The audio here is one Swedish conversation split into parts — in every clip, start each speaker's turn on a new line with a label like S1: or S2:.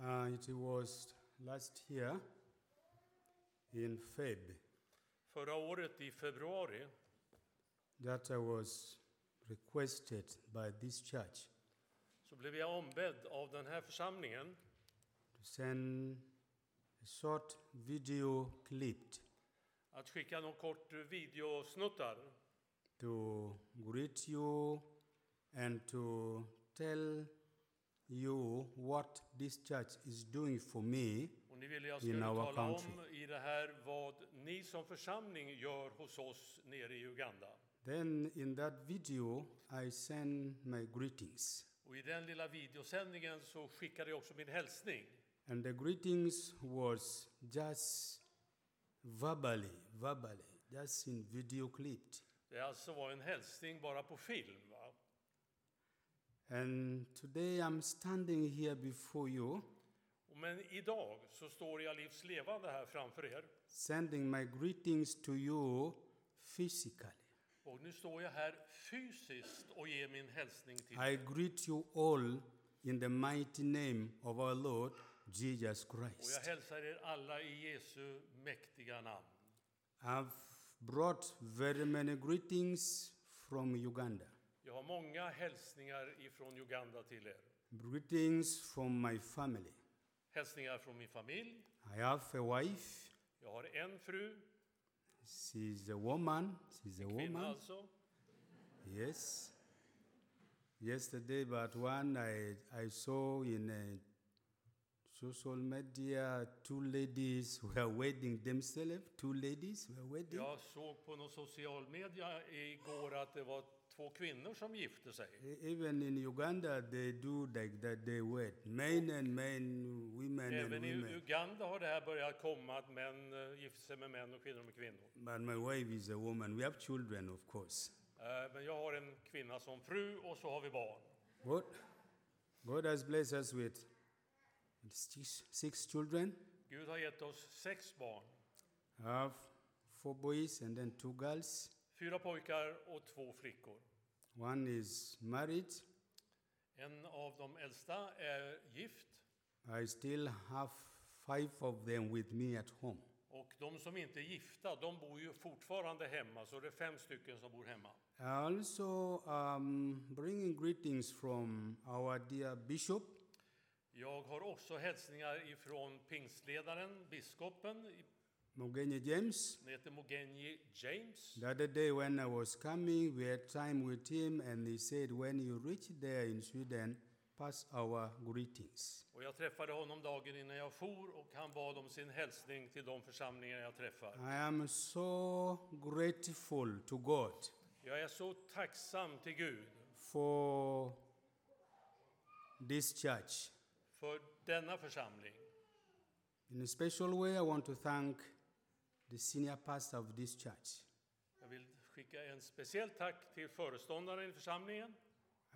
S1: Uh, it was last year in Feb
S2: Förra året i februari
S1: that I was requested by this church
S2: så blev jag ombedd av den här församlingen
S1: to send a short video clip
S2: att skicka någon kort videosnuttar
S1: to greet you and to tell you what this church is doing for me
S2: och ni ville jag
S1: In
S2: skulle
S1: our
S2: tala om
S1: country.
S2: i det här vad ni som församling gör hos oss nere i Uganda.
S1: Then in that video, I send my greetings.
S2: Och i den lilla videosändningen så skickade jag också min hälsning.
S1: And the greetings was just verbally, verbally, just in video clipped.
S2: Det alltså var en hälsning bara på film. Va?
S1: And today I'm standing here before you,
S2: Och Men idag så står jag livs levande här framför er.
S1: sending my greetings to you physically.
S2: Och nu står jag här fysiskt och ger min hälsning till
S1: I greet you all in the mighty name of our Lord Jesus
S2: Och jag
S1: Christ.
S2: hälsar er alla i Jesu mäktiga namn.
S1: I've brought very many greetings from Uganda.
S2: Jag har många hälsningar ifrån Uganda till er.
S1: Greetings from my family.
S2: Hälsningar från min familj.
S1: I have a wife.
S2: Jag har en fru,
S1: She's a woman. She's a
S2: kvinna
S1: woman.
S2: alltså.
S1: Yes. Yesterday, but one I, I saw in a social media two ladies were wedding themselves. Two ladies were wedding.
S2: Jag såg på någon social media igår att det var två kvinnor som gifte sig.
S1: E- Even in Uganda, they do like that. They wed men and men, women and
S2: Även i
S1: women.
S2: Uganda har det här börjat komma att män eh, gifter sig med män och kvinnor med kvinnor.
S1: But my wife is a woman. We have children, of course.
S2: Eh, Men jag har en kvinna som fru och så har vi barn.
S1: What? God has blessed us with six, six children.
S2: Gud har gett oss sex barn.
S1: I have four boys and then two girls.
S2: Fyra pojkar och två flickor.
S1: One is married.
S2: En av de äldsta är gift
S1: I still have five of them with me at home.
S2: och de som inte är gifta, de bor ju fortfarande hemma, så det är fem stycken som bor hemma.
S1: I also um, bringing greetings from our dear bishop.
S2: Jag har också hälsningar ifrån pingstledaren, biskopen,
S1: Mogenye James.
S2: han heter Mogenji James.
S1: The other day when I was coming, we had time with him, and he said, "When you reach there in Sweden, pass our greetings."
S2: Och jag träffade honom dagen innan jag for och han bad om sin hälsning till de församlingar jag träffar.
S1: I am so grateful to God
S2: Jag är så tacksam till Gud
S1: for this church.
S2: för denna församling.
S1: In a special way, I want to thank the senior pastor of this church.
S2: Jag vill skicka en speciell tack till föreståndaren i församlingen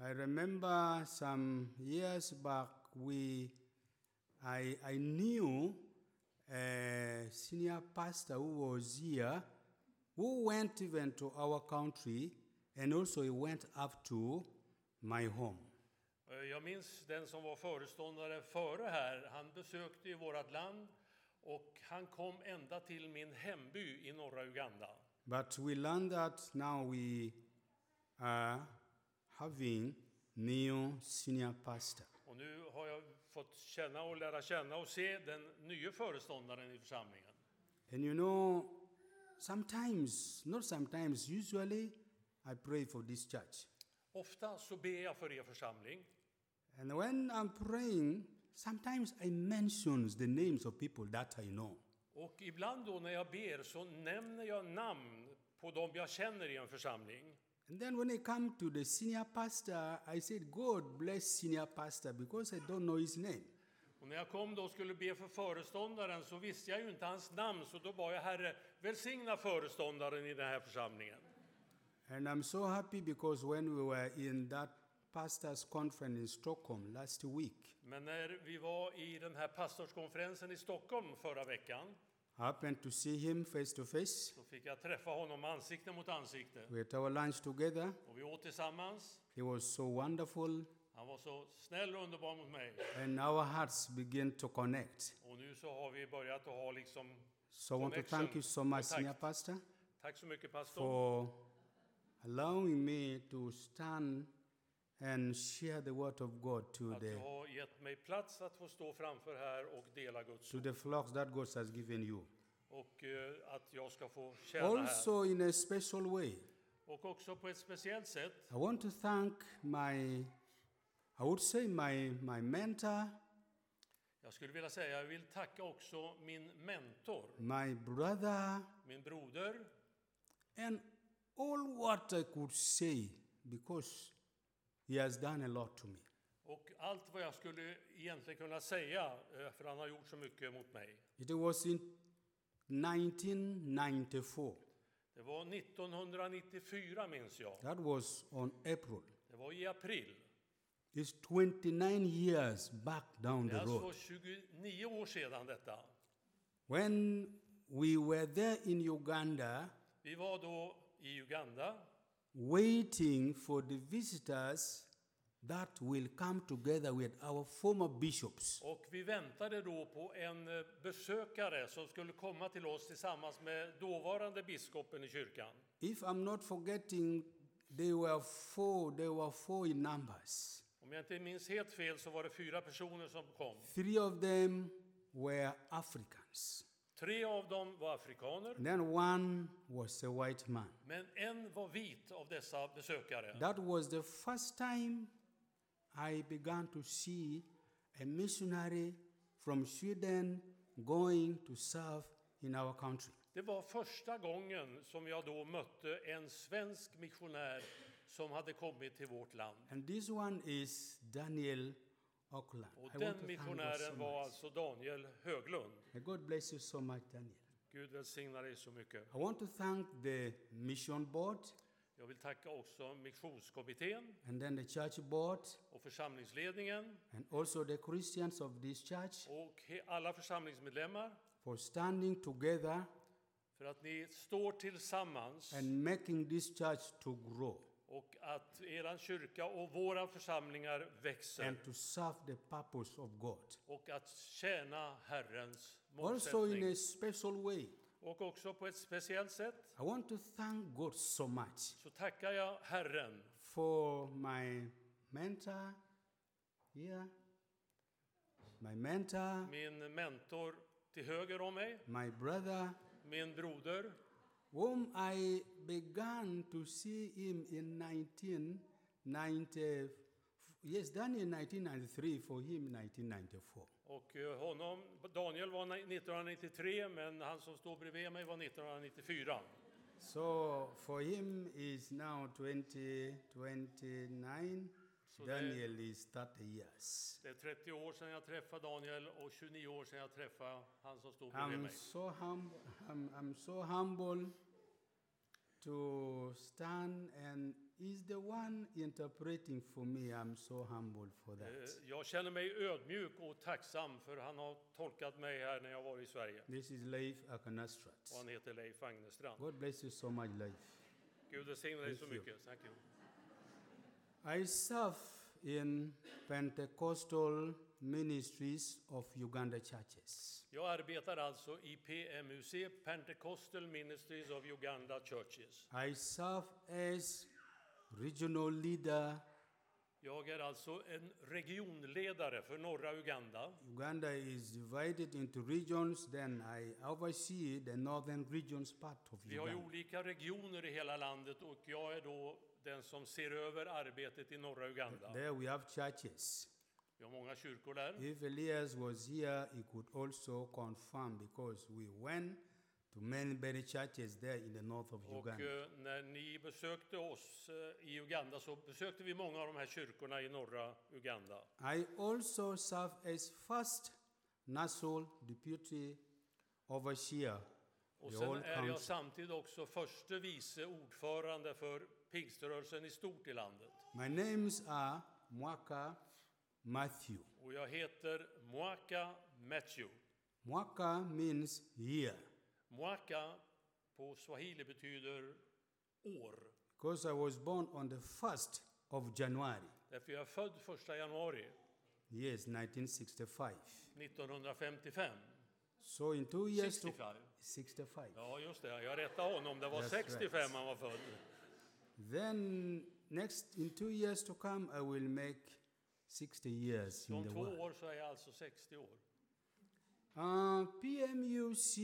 S1: I remember some years back, we, I, I knew a senior pastor who was here, who went even to our country, and also he went up to my home.
S2: Eh, Jag minns den som var föreståndare före här. Han besökte ju vårt land och han kom ända till min hemby i norra Uganda.
S1: But we learned that now we are having new senior pastor.
S2: Och nu har jag fått känna och lära känna och se den nya föreståndaren i församlingen.
S1: And you know, sometimes, not sometimes, usually I pray for this church.
S2: Ofta så ber jag för er församling
S1: And when I'm praying, sometimes I mention the names of people that I know.
S2: och ibland då när jag ber så nämner jag namn på dem jag känner i en församling.
S1: And then when I come to the senior pastor, I said, God bless senior pastor because I don't know his name.
S2: Och när jag kom då och skulle be för föreståndaren så visste jag ju inte hans namn så då bad jag Herre välsigna föreståndaren i den här församlingen.
S1: And I'm so happy because when we were in that pastor's conference in Stockholm last week,
S2: Men när vi var i den här pastorskonferensen i Stockholm förra veckan
S1: I happened to see him face to face.
S2: så fick jag träffa honom ansikte mot ansikte.
S1: We had our lunch together.
S2: Och vi åt tillsammans.
S1: He was so wonderful.
S2: Han Han var så snäll och underbar mot mig.
S1: and our hearts begin to connect.
S2: Och nu så har vi börjat att ha liksom...
S1: So I want to thank you so much,
S2: Connection.
S1: Senior Pastor,
S2: Tack så mycket pastor
S1: for allowing me to stand and share the word of God to
S2: att
S1: the,
S2: du har gett mig plats att få stå framför här och dela Guds
S1: to
S2: ord.
S1: the flocks that God has given you.
S2: Och eh, att jag ska få tjäna här.
S1: Also, in a special way,
S2: Och också på ett speciellt sätt
S1: I want to thank my, I would say my, my mentor,
S2: Jag skulle vilja säga, jag vill tacka också min mentor,
S1: my brother,
S2: min broder
S1: and all what I could say because he has done a lot to me.
S2: och allt vad jag skulle egentligen kunna säga, eh, för han har gjort så mycket mot mig.
S1: It was in 1994.
S2: Det var 1994 minns jag.
S1: That was on April.
S2: Det var i april.
S1: It's 29 years back down
S2: Det är
S1: the road.
S2: alltså 29 år sedan detta.
S1: When we were there in Uganda
S2: Vi var då i Uganda
S1: waiting for the visitors that will come together with our former bishops.
S2: och vi väntade då på en eh, besökare som skulle komma till oss tillsammans med dåvarande biskopen i kyrkan.
S1: If I'm not forgetting, they were four, they were four in numbers.
S2: Om jag inte minns helt fel så var det fyra personer som kom.
S1: Three of them were Africans.
S2: Tre av dem var afrikaner,
S1: And then one was a white man.
S2: men en var vit av dessa besökare.
S1: That was the first time I began to see a missionary from Sweden going to serve in our country.
S2: Det var första gången som jag då mötte en svensk missionär som hade kommit till vårt land.
S1: And this one is Daniel Auckland.
S2: Och
S1: I want
S2: den
S1: to thank God so
S2: missionären var
S1: much.
S2: alltså Daniel Höglund.
S1: May God bless you so much, Daniel.
S2: Gud välsigna dig så mycket.
S1: I want to thank the mission board
S2: Jag vill tacka också missionskommittén
S1: and then the church board
S2: och församlingsledningen
S1: and also the Christians of this church
S2: och he- alla församlingsmedlemmar
S1: for standing together
S2: för att ni står tillsammans
S1: and making this church to grow
S2: och att er kyrka och våra församlingar växer.
S1: and to serve the purpose of God.
S2: och att tjäna Herrens
S1: Also, in
S2: målsättning.
S1: a special way,
S2: Och också på ett speciellt sätt
S1: I want to thank God so much
S2: så tackar jag Herren
S1: for my mentor here, my mentor,
S2: min mentor till höger om mig,
S1: my brother,
S2: min broder,
S1: whom I began to see him in 1990. Yes, Daniel 1993, for him 1994.
S2: och eh, honom, Daniel var ni- 1993, men han som står bredvid mig var 1994.
S1: So for him is now 20, 29.
S2: So they-
S1: Daniel is 30 years.
S2: Det är 30 år sedan jag träffade Daniel och 29 år sedan jag träffade han som står bredvid
S1: I'm
S2: mig.
S1: so hum, I'm, I'm so humble to stand and is the one interpreting for me. I'm so humble for that.
S2: Eh, Jag känner mig ödmjuk och tacksam för han har tolkat mig här när jag var i Sverige.
S1: This is Leif
S2: Och
S1: Akanastrat.
S2: han heter Leif Agnestrand.
S1: God bless you so much, Leif.
S2: Gud välsigne dig så
S1: Thank you.
S2: mycket. Tack. Gud.
S1: I serve in Pentecostal ministries of Uganda churches.
S2: Jag arbetar alltså i PMUC, Pentecostal Ministries of Uganda Churches.
S1: I serve as regional leader.
S2: Jag är alltså en regionledare för norra Uganda.
S1: Uganda is divided into regions, then I oversee the northern regions part of
S2: Vi har ju
S1: Uganda.
S2: olika regioner i hela landet och jag är då den som ser över arbetet i norra Uganda.
S1: There we have churches.
S2: Vi har många kyrkor där.
S1: If Elias was here, he could also confirm because we went to many, many churches there in the north of
S2: Och
S1: Uganda.
S2: eh, när ni besökte oss eh, i Uganda så besökte vi många av de här kyrkorna i norra Uganda.
S1: I also serve as first national deputy overseer.
S2: Och
S1: the
S2: sen
S1: whole
S2: är jag
S1: country.
S2: samtidigt också förste vice ordförande för pingströrelsen i stort i landet.
S1: My names are Mwaka Matthew.
S2: Och jag heter Mwaka Matthew.
S1: Mwaka means year.
S2: Mwaka på swahili betyder år.
S1: Because I was born on the 1st of January.
S2: Därför jag är född 1 januari
S1: Yes, 1965.
S2: 1955.
S1: So in two years to
S2: 65.
S1: 65.
S2: Ja, just det. Jag rättade honom. Det var
S1: That's
S2: 65
S1: right.
S2: han var född.
S1: Then next in two years to come, I will make 60 years
S2: Så
S1: in
S2: om
S1: the
S2: två
S1: world.
S2: år så är jag alltså 60 år.
S1: Uh, PMUC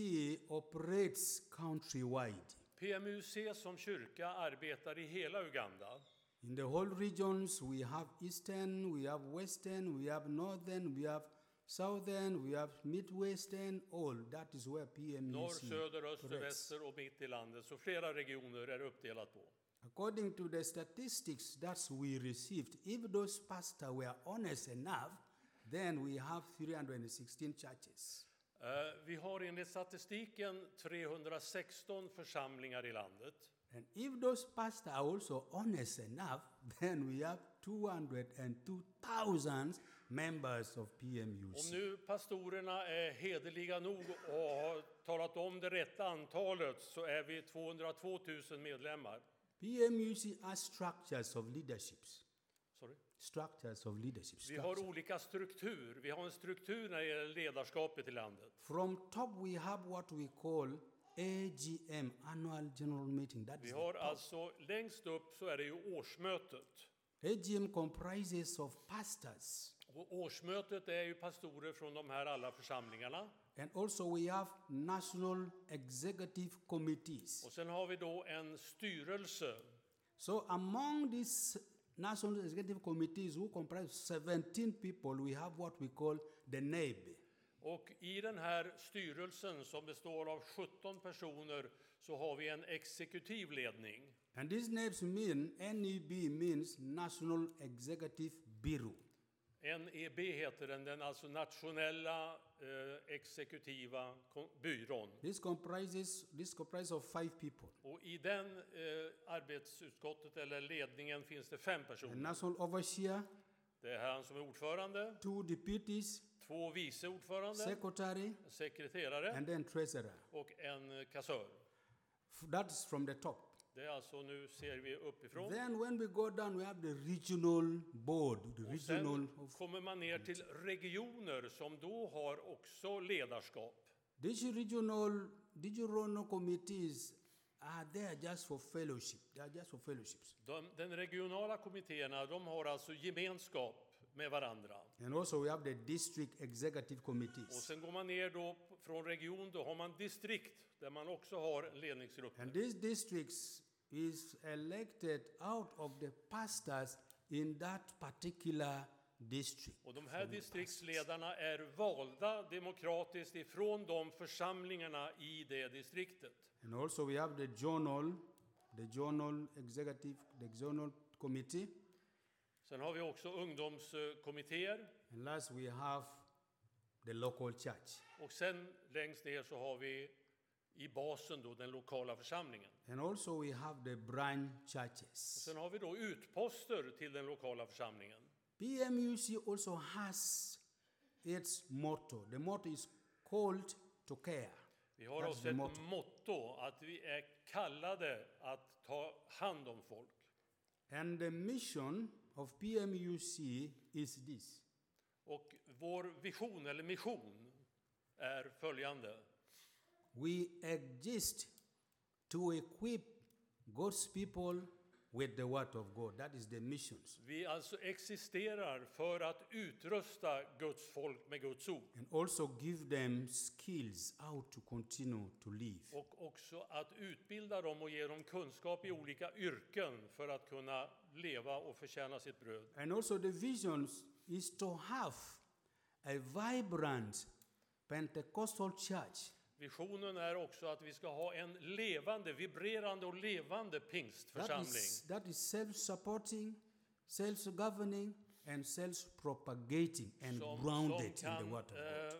S1: operates countrywide
S2: PMUC som kyrka arbetar i hela Uganda.
S1: in the whole regions. We have eastern, we have western, we have northern, we have southern, we have midwestern. All that is where
S2: Norr,
S1: PMUC
S2: söder, öster,
S1: operates.
S2: väster och mitt i landet. Så flera regioner är uppdelat på.
S1: According to the statistics that we received, if those pastors were honest enough, then we have 316 churches.
S2: Eh, Vi har enligt statistiken 316 församlingar i landet.
S1: And if those pastors are also honest enough, then we have 202,000 members of
S2: Om
S1: PMUC.
S2: nu pastorerna är hederliga nog och har talat om det rätta antalet så är vi 202 000 medlemmar.
S1: PMUC are structures of leaderships.
S2: Sorry.
S1: Structures of leadership.
S2: Vi har
S1: structure.
S2: olika struktur. Vi har en struktur när det gäller ledarskapet i landet.
S1: From top, we have what we call AGM, Annual General Meeting. That
S2: Vi
S1: is
S2: har alltså längst upp så är det ju årsmötet.
S1: AGM comprises of pastors.
S2: Och årsmötet är ju pastorer från de här alla församlingarna.
S1: And also we have national executive committees.
S2: Och sen har vi då en styrelse.
S1: So among these national executive committees who comprise 17 people, we have what we call the E NAB.
S2: Och i den här styrelsen som består av 17 personer så har vi en exekutiv ledning.
S1: And these NABs mean, NEB means National Executive Bureau.
S2: NEB E heter den, den alltså nationella eh, exekutiva kon- byrån.
S1: This comprises, this comprises of five people.
S2: Och i den eh, arbetsutskottet eller ledningen finns det fem
S1: A
S2: personer.
S1: national overseer,
S2: Det är han som är ordförande,
S1: two deputies,
S2: två vice ordförande,
S1: secretary,
S2: en sekreterare
S1: and then treasurer.
S2: och en eh, kassör.
S1: F- That's from the top.
S2: Det är alltså, nu ser vi uppifrån.
S1: Then when we go down, we have the regional board, the
S2: Och
S1: regional
S2: sen kommer man ner till regioner som då har också ledarskap.
S1: These regional, these regional committees are there just for fellowship. They are just for fellowships.
S2: De, den regionala kommittéerna, de har alltså gemenskap med varandra.
S1: And also we have the district executive
S2: Och
S1: committees.
S2: sen går man ner då p- från region, då har man distrikt där man också har ledningsgrupper.
S1: And these districts is elected out of the pastors in that particular district.
S2: Och de här distriktsledarna är valda demokratiskt ifrån de församlingarna i det distriktet.
S1: And also we have the journal, the journal executive, the journal committee.
S2: Sen har vi också ungdomskommittéer
S1: And last we have the local church.
S2: och sen längst ner så har vi i basen då den lokala församlingen.
S1: And also we have the branch churches.
S2: Sen har vi då utposter till den lokala församlingen.
S1: PMUC also has its motto. The motto is called to care.
S2: Vi har
S1: That's
S2: också
S1: the
S2: ett
S1: motto.
S2: motto att vi är kallade att ta hand om folk.
S1: And the mission of PMUC is this
S2: Och vår vision eller mission är följande.
S1: We exist to equip God's people with the word of God. That is the missions.
S2: Vi alltså existerar för att utrusta Guds folk med Guds ord
S1: And also give them skills how to continue to live.
S2: och också att utbilda dem och ge dem kunskap i olika yrken för att kunna leva och förtjäna sitt bröd.
S1: And also the visions is to have a vibrant Pentecostal church
S2: Visionen är också att vi ska ha en levande, vibrerande och levande
S1: That
S2: pingstförsamling.
S1: is, that is self-supporting, self-governing, and self-propagating and grounded in the
S2: kan,
S1: Word of God.
S2: eh,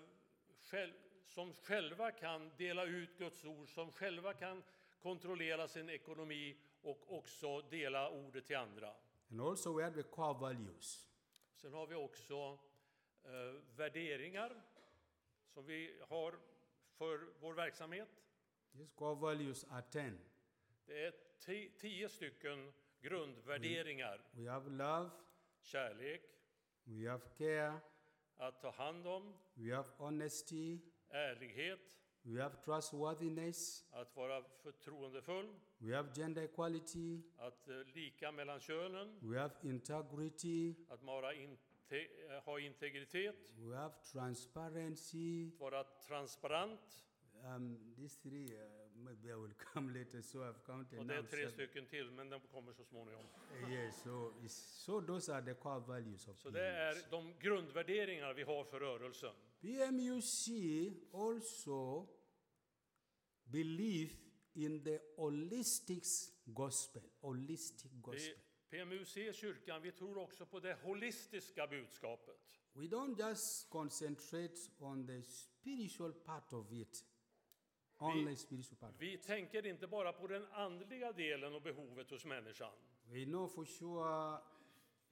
S2: själv, som själva kan dela ut Guds ord, som själva kan kontrollera sin ekonomi och också dela ordet till andra.
S1: And also we have the core values.
S2: Sen har vi också eh, värderingar som vi har för vår verksamhet.
S1: These core values are ten.
S2: Det är ti- tio stycken grundvärderingar.
S1: We have love,
S2: kärlek,
S1: we have care,
S2: att ta hand om,
S1: we have honesty,
S2: ärlighet,
S1: we have trustworthiness,
S2: att vara förtroendefull,
S1: we have gender equality,
S2: att eh, lika mellan könen,
S1: we have integrity,
S2: att vara inte, eh, ha integritet,
S1: we have transparency.
S2: att vara transparent.
S1: Um, these three, uh, maybe I will come later, so I've counted
S2: Och det
S1: now.
S2: är tre
S1: seven.
S2: stycken till, men de kommer så småningom.
S1: Uh, yes, so, it's, so those are the core values of
S2: Så det
S1: PMUC.
S2: är de grundvärderingar vi har för rörelsen.
S1: PMUC also believe in the holistic gospel, holistic
S2: Vi,
S1: gospel.
S2: PMUC, kyrkan, vi tror också på det holistiska budskapet.
S1: We don't just concentrate on the spiritual part of it, only spiritual part. of it.
S2: Vi tänker inte bara på den andliga delen och behovet hos människan.
S1: We know for sure,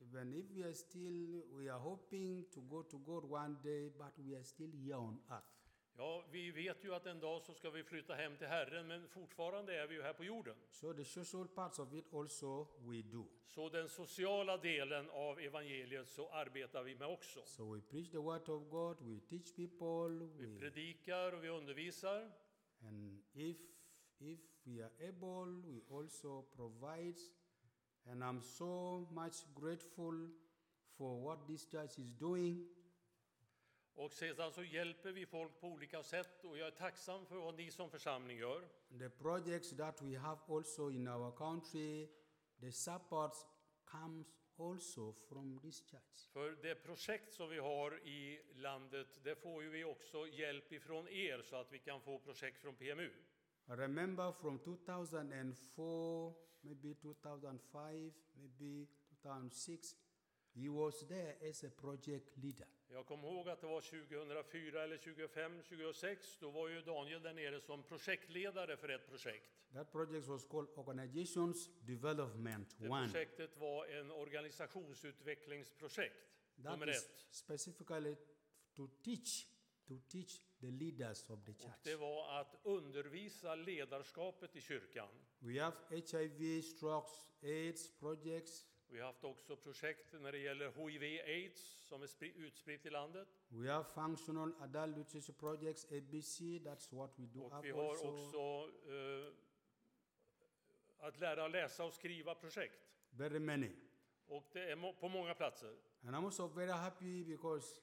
S1: even if we are still, we are hoping to go to God one day, but we are still here on earth.
S2: Ja, vi vet ju att en dag så ska vi flytta hem till Herren, men fortfarande är vi ju här på jorden.
S1: So the social parts of it also we do.
S2: Så den sociala delen av evangeliet så arbetar vi med också.
S1: So we preach the word of God, we teach people, we,
S2: Vi predikar och vi undervisar.
S1: and if if we are able, we also provide. And I'm so much grateful for what this church is doing.
S2: Och sedan så hjälper vi folk på olika sätt och jag är tacksam för vad ni som församling gör.
S1: The projects that we have also in our country, the support comes also from this church.
S2: För det projekt som vi har i landet, det får ju vi också hjälp ifrån er så att vi kan få projekt från PMU.
S1: I remember from 2004, maybe 2005, maybe 2006, he was there as a project leader.
S2: Jag kommer ihåg att det var 2004 eller 2005, 2006. Då var ju Daniel där nere som projektledare för ett projekt.
S1: That project was called Organizations Development
S2: Det
S1: 1.
S2: projektet var en organisationsutvecklingsprojekt,
S1: That
S2: nummer
S1: is
S2: ett.
S1: specifically to teach, to teach the leaders of the
S2: Och det
S1: church.
S2: var att undervisa ledarskapet i kyrkan.
S1: We have HIV, strokes, AIDS projects.
S2: Vi har haft också projekt när det gäller HIV/AIDS som är spri- utspritt i landet.
S1: We have functional adult literacy projects, ABC. That's what we do.
S2: Och
S1: have
S2: vi har också eh, att lära läsa och skriva projekt.
S1: very many.
S2: Och det är må- på många platser.
S1: And I'm also very happy because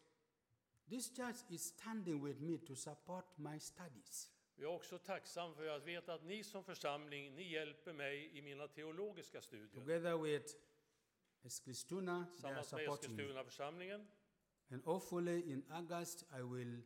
S1: this church is standing with me to support my studies.
S2: Jag är också tacksam för att jag vet att ni som församling, ni hjälper mig i mina teologiska studier.
S1: Together with Eskilstuna, they are
S2: Tillsammans med
S1: supporting me.
S2: Eskilstuna församlingen.
S1: And hopefully in August, I will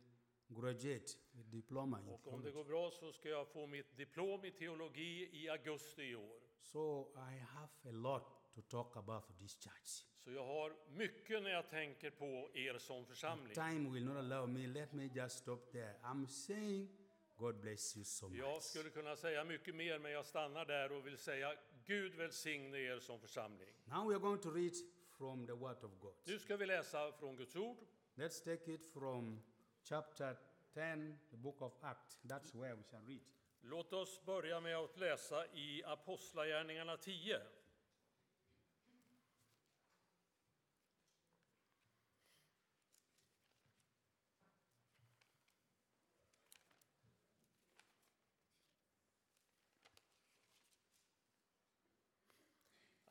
S1: graduate with diploma. in
S2: Och om det
S1: theology.
S2: går bra så ska jag få mitt diplom i teologi i augusti i år.
S1: So I have a lot to talk about for this church.
S2: Så jag har mycket när jag tänker på er som församling.
S1: Time will not allow me. Let me just stop there. I'm saying, God bless you so much.
S2: Jag skulle kunna säga mycket mer, men jag stannar där och vill säga Gud välsigne er som församling.
S1: Now we are going to read from the Word of God.
S2: Nu ska vi läsa från Guds ord.
S1: Let's take it from chapter 10, the book of Acts. That's where we shall read.
S2: Låt oss börja med att läsa i Apostlagärningarna 10.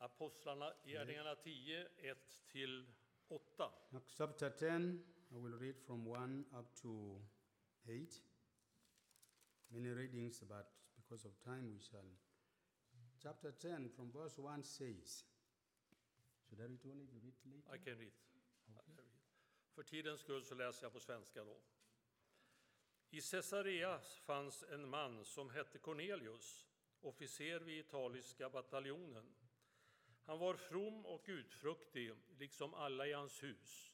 S2: Apostlagärningarna 10, 1 till 8.
S1: Acts chapter 10, I will read from 1 up to 8. Many readings, but because of time, we shall. Chapter 10, from verse 1 says, Should I read only if you read later?
S2: I can read. För tidens skull så läser jag på svenska då. I Caesarea fanns en man som hette Cornelius, officer vid italiska bataljonen. Han var from och gudfruktig, liksom alla i hans hus,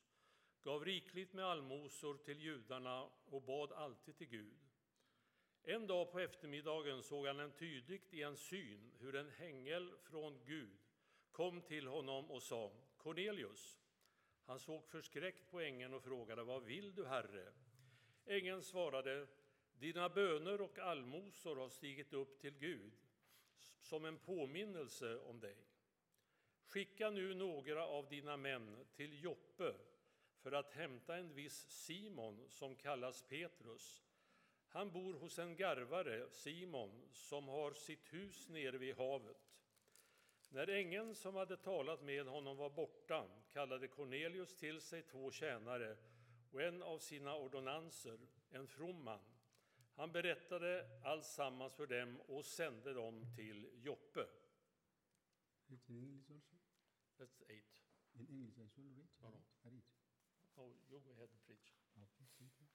S2: gav rikligt med allmosor till judarna och bad alltid till Gud. En dag på eftermiddagen såg han en tydligt i en syn hur en hängel från Gud kom till honom och sa Cornelius. Han såg förskräckt på ängeln och frågade Vad vill du, Herre? Ängeln svarade Dina böner och allmosor har stigit upp till Gud som en påminnelse om dig. Skicka nu några av dina män till Joppe för att hämta en viss Simon som kallas Petrus. Han bor hos en garvare, Simon, som har sitt hus nere vid havet. När ängeln som hade talat med honom var borta kallade Cornelius till sig två tjänare och en av sina ordonnanser, en from man. Han berättade alltsammans för dem och sände dem till Joppe.
S1: It's in English also?
S2: That's eight.
S1: In English as well, right?
S2: No, no.
S1: I read.
S2: Oh, you go ahead and preach.
S1: Okay, thank you.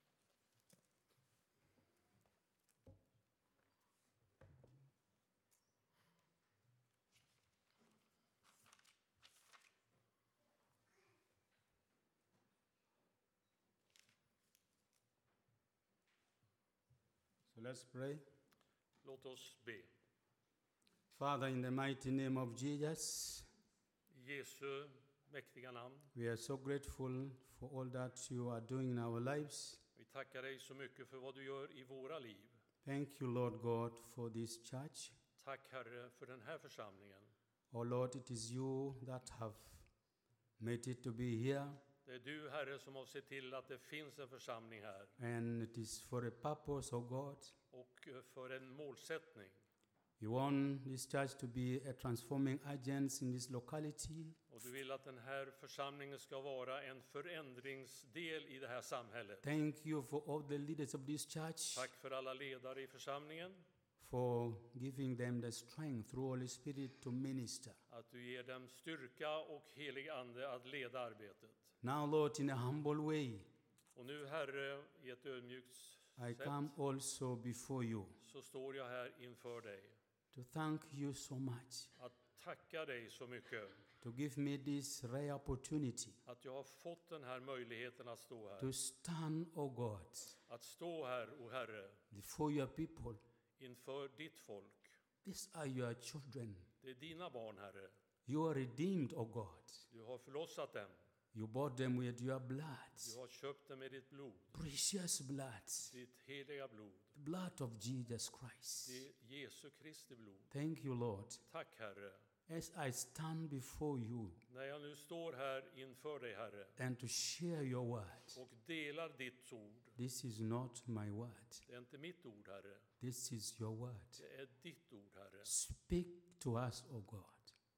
S1: So let's pray.
S2: Låt oss be.
S1: Father, in the mighty name of Jesus,
S2: I Jesu mäktiga namn,
S1: we are so grateful for all that you are doing in our lives.
S2: vi tackar dig så mycket för vad du gör i våra liv.
S1: Thank you, Lord God, for this church.
S2: Tack Herre för den här församlingen.
S1: Oh Lord, it is you that have made it to be here,
S2: Det är du Herre som har sett till att det finns en församling här
S1: and it is for a purpose, oh God.
S2: och eh, för en målsättning.
S1: You want this church to be a transforming agent in this locality.
S2: Och du vill att den här församlingen ska vara en förändringsdel i det här samhället.
S1: Thank you for all the leaders of this church
S2: Tack för alla ledare i församlingen,
S1: for giving them the strength through Holy Spirit to minister.
S2: att du ger dem styrka och helig ande att leda arbetet.
S1: Now, Lord, in a humble way,
S2: Och nu Herre, i ett ödmjukt
S1: I
S2: sätt
S1: come also before you
S2: så står jag här inför dig.
S1: to thank you so much,
S2: Att tacka dig så mycket
S1: to give me this rare opportunity
S2: att jag har fått den här möjligheten att stå här.
S1: to stand, O God,
S2: Att stå här, o Herre,
S1: before your people.
S2: inför ditt folk.
S1: These are your children.
S2: Det är dina barn, Herre.
S1: You are redeemed, O God.
S2: Du har förlossat dem.
S1: You bought them with your blood,
S2: Du har köpt dem med ditt blod,
S1: precious blood,
S2: ditt heliga blod,
S1: the blood of Jesus Christ.
S2: det Jesu Kristi blod.
S1: Thank you, Lord.
S2: Tack, Herre.
S1: As I stand before you
S2: När jag nu står här inför dig, Herre,
S1: and to share your word,
S2: och delar ditt ord.
S1: this is not my word,
S2: Det är inte mitt ord, Herre.
S1: this is your word.
S2: Det är ditt ord, Herre.
S1: Speak to us, O God.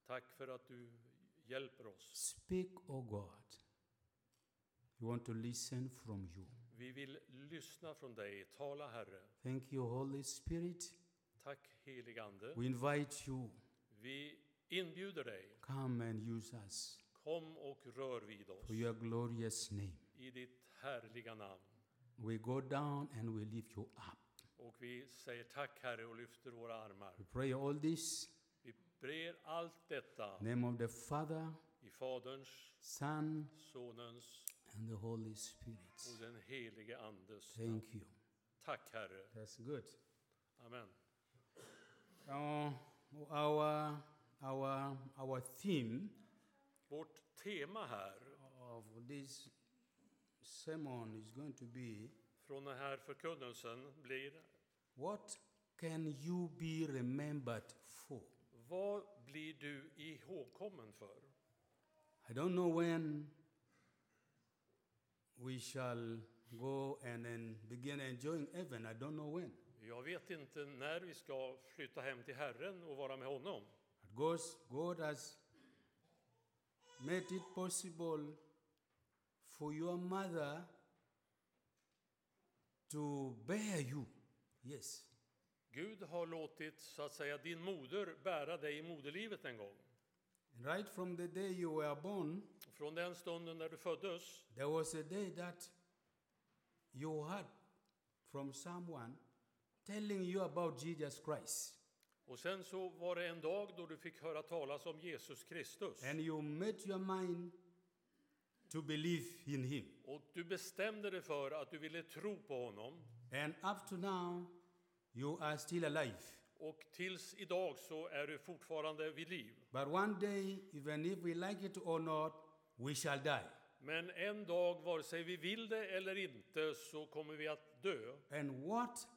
S2: Tack för att du hjälper oss.
S1: Speak, O God. We want to listen from you.
S2: Vi vill lyssna från dig. Tala, Herre.
S1: Thank you, Holy Spirit.
S2: Tack, helige Ande.
S1: We invite you,
S2: Vi inbjuder dig.
S1: come and use us
S2: Kom och rör vid oss
S1: for your glorious name.
S2: i ditt härliga namn.
S1: We go down and we lift you up.
S2: Och vi säger tack, Herre, och lyfter våra armar.
S1: We pray all this
S2: Vi ber allt detta
S1: in the name of the Father,
S2: i Faderns,
S1: Son,
S2: Sonens
S1: and the Holy
S2: och
S1: Spirit.
S2: den helige Andes namn.
S1: Thank you.
S2: Tack, Herre.
S1: That's good.
S2: Amen.
S1: Now, Uh, our, our, our theme
S2: Vårt tema här
S1: of this sermon is going to be
S2: från den här förkunnelsen blir
S1: What can you be remembered for?
S2: Vad blir du ihågkommen för?
S1: I don't know when we shall go and then begin enjoying heaven. I don't know when.
S2: Jag vet inte när vi ska flytta hem till Herren och vara med honom.
S1: But God, God has made it possible for your mother to bear you. Yes.
S2: Gud har låtit, så att säga, din moder bära dig i moderlivet en gång.
S1: And right from the day you were born,
S2: Från den stunden när du föddes
S1: there was a day that you heard from someone telling you about Jesus Christ.
S2: och sen så var det en dag då du fick höra talas om Jesus Kristus.
S1: And you made your mind to believe in him.
S2: Och du bestämde dig för att du ville tro på honom.
S1: And up to now, you are still alive.
S2: Och tills idag så är du fortfarande vid liv.
S1: But one day, even if we like it or not, we shall die.
S2: Men en dag, vare sig vi vill det eller inte, så kommer vi att dö.
S1: And what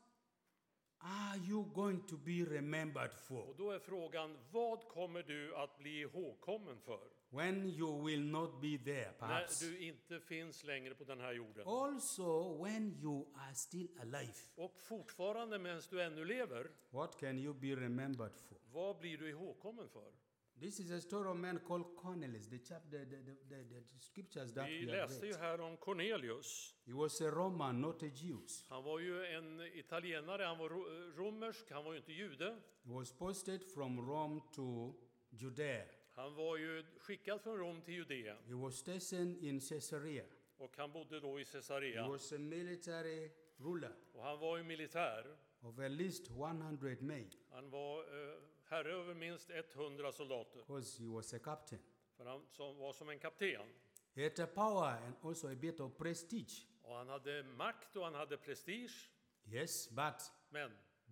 S1: are you going to be remembered for
S2: Och då är frågan, vad kommer du att bli ihågkommen för?
S1: when you will not be there,
S2: När
S1: perhaps?
S2: du inte finns längre på den här jorden.
S1: Also, when you are still alive,
S2: Och fortfarande medan du ännu lever,
S1: what can you be remembered for?
S2: vad blir du ihågkommen för?
S1: This is a story of a man called Cornelius, the, chap, the, the, the, the, the scriptures that
S2: Vi
S1: we have
S2: läste ju
S1: read.
S2: här om Cornelius.
S1: He was a Roman, not a Jew.
S2: Han var ju en italienare, han var ro- romersk, han var ju inte jude.
S1: He was posted from Rome to Judea.
S2: Han var ju skickad från Rom till Judeen
S1: He was stationed in Caesarea.
S2: och han bodde då i
S1: He
S2: Caesarea.
S1: was a military ruler
S2: Och han var ju militär.
S1: of at least 100 men,
S2: Han var eh, herre över minst 100 soldater,
S1: because he was a captain.
S2: för han som, var som en kapten.
S1: He had a power and also a bit of prestige.
S2: Och han hade makt och han hade prestige.
S1: Yes, but
S2: Men,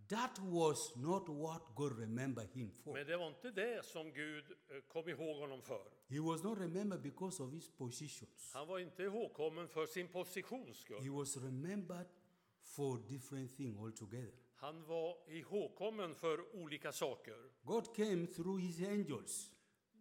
S1: that was not what God remembered him for.
S2: men det var inte det som Gud eh, kom ihåg honom för.
S1: He was not remembered because of his positions.
S2: Han var inte ihågkommen för sin positions skull.
S1: He was remembered for different thing altogether.
S2: Han var ihågkommen för olika saker.
S1: God came through his angels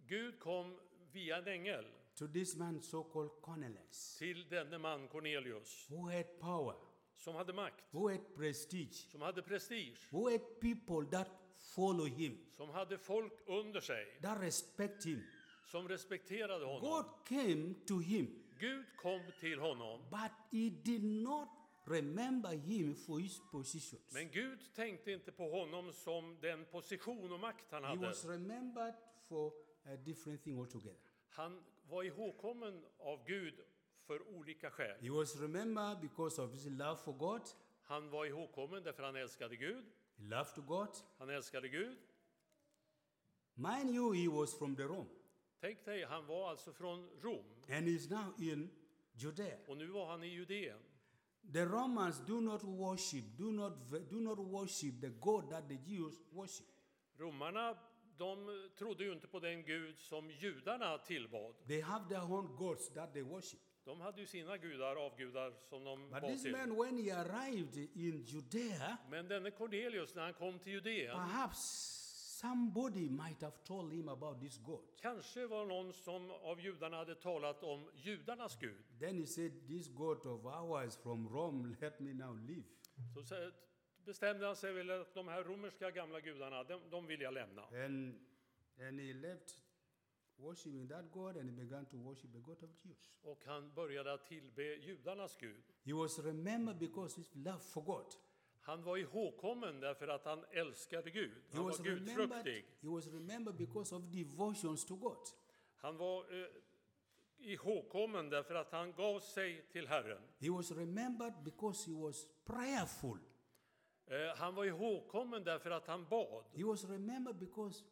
S2: Gud kom via en ängel
S1: to this man so-called Cornelius,
S2: till denne man Cornelius,
S1: who had power,
S2: som hade makt,
S1: who had prestige,
S2: som hade prestige,
S1: who had people that follow him,
S2: som hade folk under sig,
S1: that respect him.
S2: som respekterade
S1: God
S2: honom.
S1: came to him,
S2: Gud kom till honom,
S1: but he did not remember him for his positions.
S2: men Gud tänkte inte på honom som den position och makt han
S1: He
S2: hade.
S1: was remembered for a different thing altogether.
S2: Han var ihågkommen av Gud för olika skäl.
S1: He was remembered because of his love for God,
S2: Han var ihågkommen därför han älskade Gud.
S1: He loved God.
S2: Han älskade Gud.
S1: Mind you, he was from the Rome,
S2: Tänk dig, han var alltså från Rom
S1: and he's now in Judea.
S2: och nu var han i Judeen.
S1: The Romans do not worship, do not, v- do not worship the God that the Jews worship.
S2: Romarna de trodde ju inte på den Gud som judarna tillbad.
S1: They have their own gods that they worship.
S2: De hade ju sina gudar, avgudar, som de
S1: But
S2: bad
S1: this
S2: till.
S1: man, when he arrived in Judea,
S2: Men denne Cornelius, när han kom till Judeen,
S1: Ah. perhaps somebody might have told him about this God.
S2: kanske var någon som av judarna hade talat om judarnas Gud.
S1: Then he said, This God of ours from Rome, let me now leave.
S2: Så sä- bestämde han sig väl att de här romerska gamla gudarna, de, de vill jag lämna.
S1: And, and he left worshiping that God and he began to worship the God of Jews.
S2: Och han började att tillbe judarnas Gud.
S1: He was remembered because his love for God.
S2: Han var ihågkommen därför att han älskade Gud.
S1: He
S2: Han
S1: was,
S2: var
S1: remembered,
S2: gudfruktig.
S1: he was remembered because of devotions to God.
S2: Han var eh, ihågkommen därför att han gav sig till Herren.
S1: He was remembered because he was prayerful.
S2: Eh, han var ihågkommen därför att han bad.
S1: He was remembered because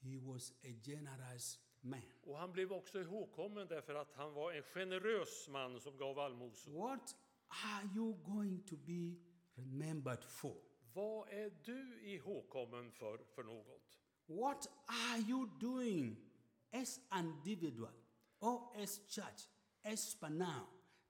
S1: he was a generous man.
S2: Och han blev också ihågkommen därför att han var en generös man som gav allmosor.
S1: What are you going to be remembered for?
S2: Vad är du ihågkommen för, för något?
S1: What are you doing as an individual or as church, as for now,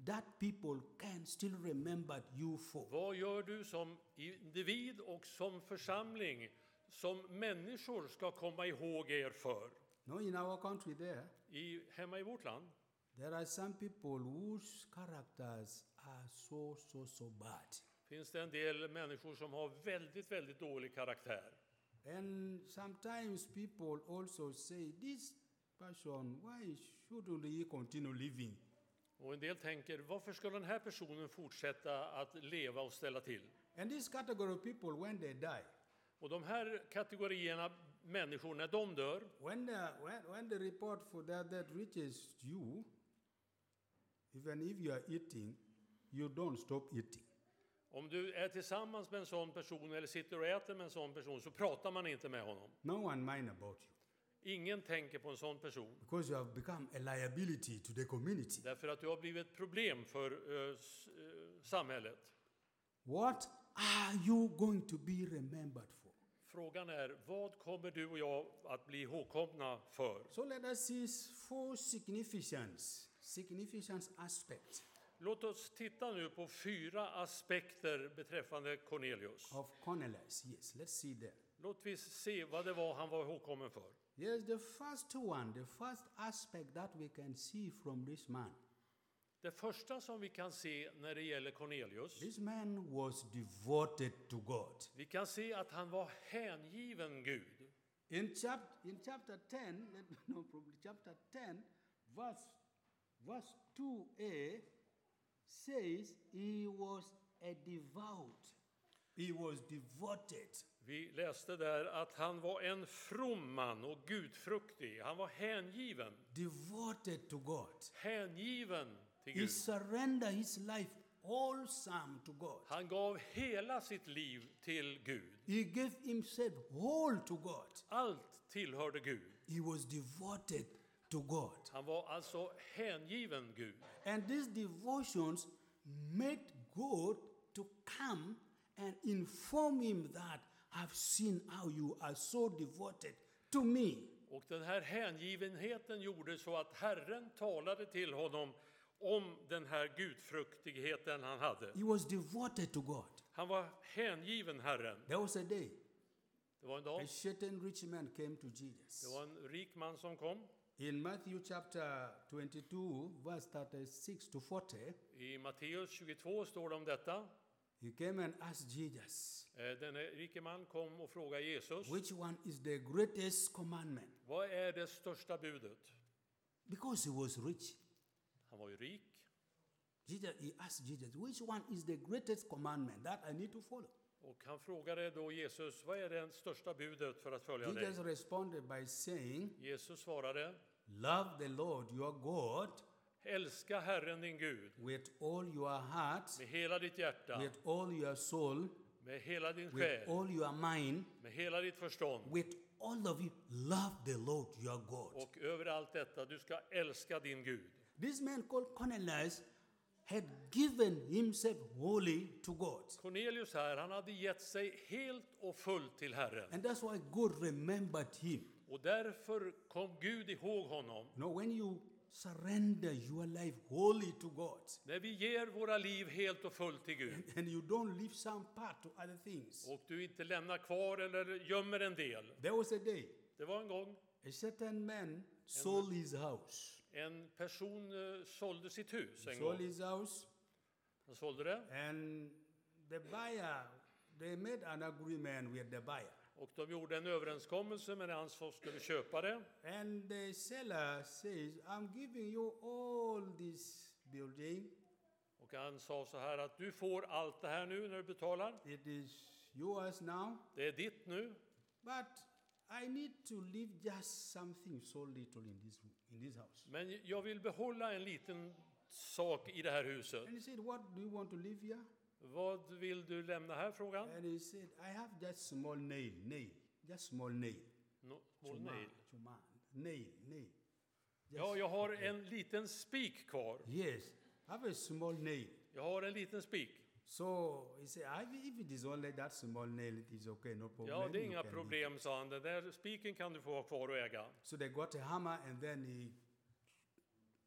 S1: that people can still remember you for?
S2: Vad gör du som individ och som församling som människor ska komma ihåg er för?
S1: No, in our country there,
S2: I, hemma i vårt land
S1: there are some people whose characters are so, so, so bad.
S2: finns det en del människor som har väldigt, väldigt dålig karaktär.
S1: And sometimes people also say, this person, why shouldn't he continue living?
S2: Och en del tänker, varför ska den här personen fortsätta att leva och ställa till?
S1: And this category of people, when they die,
S2: Och de här kategorierna människor, när de dör,
S1: When the, when, when the report for that that reaches you, even if you are eating, you don't stop eating.
S2: om du är tillsammans med en sån person eller sitter och äter med en sån person så pratar man inte med honom.
S1: No one mind about you
S2: Ingen tänker på en sån person
S1: because you have become a liability to the community.
S2: därför att du har blivit ett problem för eh, s- eh, samhället.
S1: What are you going to be remembered for?
S2: Frågan är, vad kommer du och jag att bli ihågkomna för?
S1: So let us see four significance, significance aspects
S2: Låt oss titta nu på fyra aspekter beträffande Cornelius.
S1: of Cornelius. Yes, let's see there.
S2: Låt vi se vad det var han var ihågkommen för.
S1: Yes, the first one, the first aspect that we can see from this man.
S2: Det första som vi kan se när det gäller Cornelius,
S1: This man was devoted to God.
S2: vi kan se att han var hängiven Gud.
S1: In, chap- in chapter 10, let me know, probably chapter 10, verse, verse 2a says he was a devout. He was devoted.
S2: Vi läste där att han var en from man och gudfruktig. Han var hängiven,
S1: Devoted to God.
S2: hängiven till
S1: He
S2: Gud.
S1: surrendered his life wholesome to God.
S2: Han gav hela sitt liv till Gud.
S1: He gave himself whole to God.
S2: Allt tillhörde Gud.
S1: He was devoted to God.
S2: Han var alltså hängiven Gud.
S1: And these devotions made God to come and inform him that I've seen how you are so devoted to me.
S2: Och den här hängivenheten gjorde så att Herren talade till honom om den här gudfruktigheten han hade.
S1: He was devoted to God.
S2: Han var hängiven Herren.
S1: There was a day
S2: Det var en dag.
S1: a certain rich man came to
S2: Det
S1: Jesus.
S2: var en rik man som kom.
S1: In Matthew chapter 22, verse 36 to 40,
S2: I Matteus 22 står det om detta.
S1: he came and asked Jesus,
S2: Eh, Denne rike man kom och frågade Jesus,
S1: Which one is the greatest commandment?
S2: vad är det största budet?
S1: Because he was rich.
S2: Han var ju rik.
S1: Jesus, he asked Jesus, Which one is the greatest commandment that I need to follow?
S2: Och han frågade då Jesus, vad är det största budet för att följa dig?
S1: Jesus responded by saying,
S2: Jesus svarade,
S1: Love the Lord your God
S2: älska Herren din Gud
S1: with all your heart,
S2: med hela ditt hjärta,
S1: with all your soul,
S2: med hela din
S1: with
S2: själ,
S1: all your mind,
S2: med hela ditt förstånd
S1: with all of you. Love the Lord your God.
S2: och över allt detta, du ska älska din Gud.
S1: This man called Cornelius had given himself wholly to God.
S2: Cornelius här, han hade gett sig helt och fullt till Herren.
S1: And that's why God remembered him.
S2: Och därför kom Gud ihåg honom.
S1: You know, when you surrender your life wholly to God
S2: När vi ger våra liv helt och fullt till Gud
S1: and you don't leave some part to other things,
S2: och du inte lämnar kvar eller gömmer en del.
S1: there was a day
S2: Det var en gång
S1: A certain man sold his house.
S2: en person eh, sålde sitt hus en
S1: Sold
S2: gång.
S1: his house,
S2: Han sålde det
S1: and the buyer, they made an agreement with the buyer.
S2: och de gjorde en överenskommelse med han som skulle köpa det.
S1: And the seller says, I'm giving you all this building.
S2: Och han sa så här att du får allt det här nu när du betalar.
S1: It is yours now,
S2: Det är ditt nu.
S1: but I need to leave just something so little in this, in this house.
S2: Men jag vill behålla en liten sak i det här huset.
S1: And he said, What do you want to leave here?
S2: Vad vill du lämna här? frågan?
S1: And he said, I have just small nail, nail, just small nail.
S2: No,
S1: to
S2: small
S1: man,
S2: nail.
S1: to man. Nail, nail.
S2: Ja, jag har en liten spik kvar.
S1: Yes, have a small nail.
S2: Jag har en liten spik.
S1: So he said, "Ah, if it is only that small nail, it is okay, no problem.
S2: Ja, det är
S1: you
S2: inga
S1: can leave."
S2: problem, sa han. Den där spiken kan du få ha kvar och äga.
S1: So they got a hammer and then he,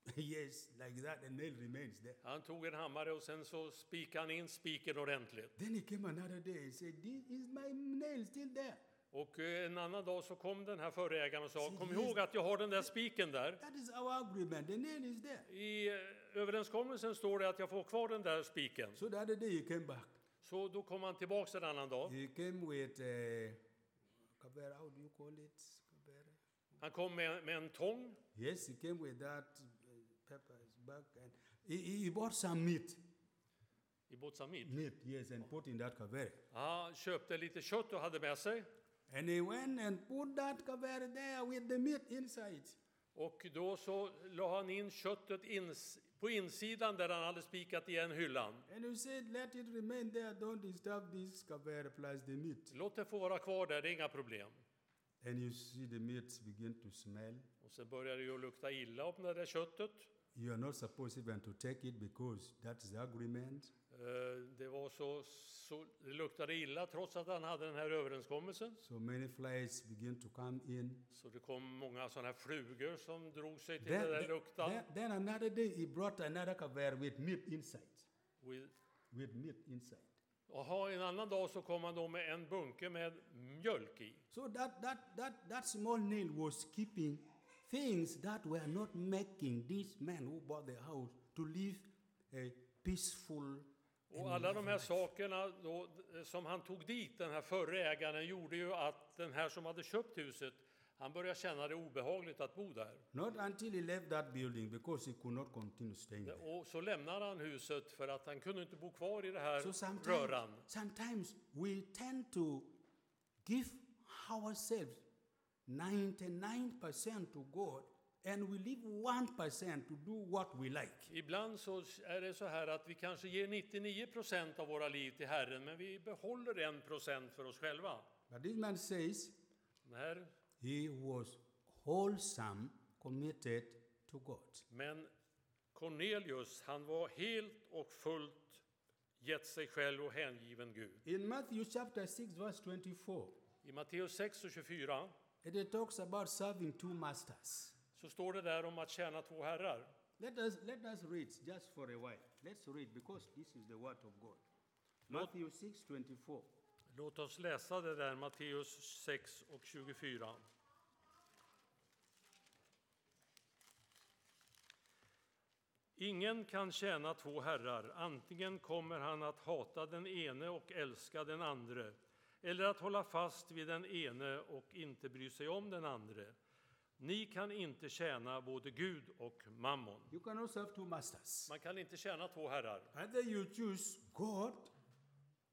S1: yes, like that, the nail remains there.
S2: Han tog en hammare och sen så spikade han in spiken ordentligt.
S1: Then he came another day and said, this is my nail still there.
S2: Och eh, en annan dag så kom den här förre ägaren och sa,
S1: Så
S2: kom
S1: det-
S2: ihåg att jag har den där spiken där.
S1: That is our agreement, the nail is there.
S2: I eh, överenskommelsen står det att jag får ha kvar den där spiken.
S1: So the other day he came back.
S2: Så då kom han tillbaks en annan dag.
S1: He came with, uh, Kavera, how do you call it? Kavera?
S2: Han kom med, med en tång
S1: Yes, he came with that uh, pepper his back and he, he- he bought some meat.
S2: i Botsamid.
S1: Meat, yes, and put in that kaveri.
S2: Han köpte lite kött och hade med sig.
S1: And he went and put that kaveri there with the meat inside.
S2: Och då så la han in köttet ins på insidan där han hade spikat igen hyllan.
S1: And he said, Let it remain there, don't disturb this kaveri plus the meat.
S2: Låt det få vara kvar där, det är inga problem.
S1: And you see the meat begin to smell.
S2: Och sen började det ju lukta illa om det där köttet.
S1: You are not supposed even to take it because that's the agreement.
S2: Eh, Det var så, så, det luktade illa trots att han hade den här överenskommelsen.
S1: So many flies begin to come in.
S2: Så det kom många sådana här flugor som drog sig till
S1: Then,
S2: den där
S1: then-
S2: luktan.
S1: then- then another day he brought another cover with meat inside.
S2: With-
S1: With meat inside.
S2: Jaha, en annan dag så kom han då med en bunke med mjölk i.
S1: So that, that, that, that small nail was keeping things that were not making this man who bought the house to live a peaceful
S2: Och alla de här sakerna då, eh, som han tog dit, den här förre ägaren, gjorde ju att den här som hade köpt huset, han började känna det obehagligt att bo där.
S1: Not until he left that building because he could not continue staying there.
S2: Och så lämnar han huset för att han kunde inte bo kvar i det här
S1: So sometimes,
S2: röran.
S1: sometimes we tend to give ourselves 99% to God and we leave 1% to do what we like.
S2: Ibland så är det så här att vi kanske ger 99 procent av våra liv till Herren, men vi behåller 1 procent för oss själva.
S1: But this man says
S2: Den här-
S1: he was wholesome, committed to God.
S2: Men Cornelius, han var helt och fullt gett sig själv och hängiven Gud.
S1: In Matthew chapter 6, verse 24,
S2: I Matteus 6 och 24
S1: it talks about serving two masters.
S2: så står det där om att tjäna två herrar.
S1: Let us, let us read just for a while. Let's read because this is the word of God. Matthew 6 24.
S2: Låt oss läsa det där Matteus 6 och 24. Ingen kan tjäna två herrar. Antingen kommer han att hata den ene och älska den andre, eller att hålla fast vid den ene och inte bry sig om den andre. Ni kan inte tjäna både Gud och mammon.
S1: You cannot serve two masters.
S2: Man kan inte tjäna två herrar.
S1: Either you choose God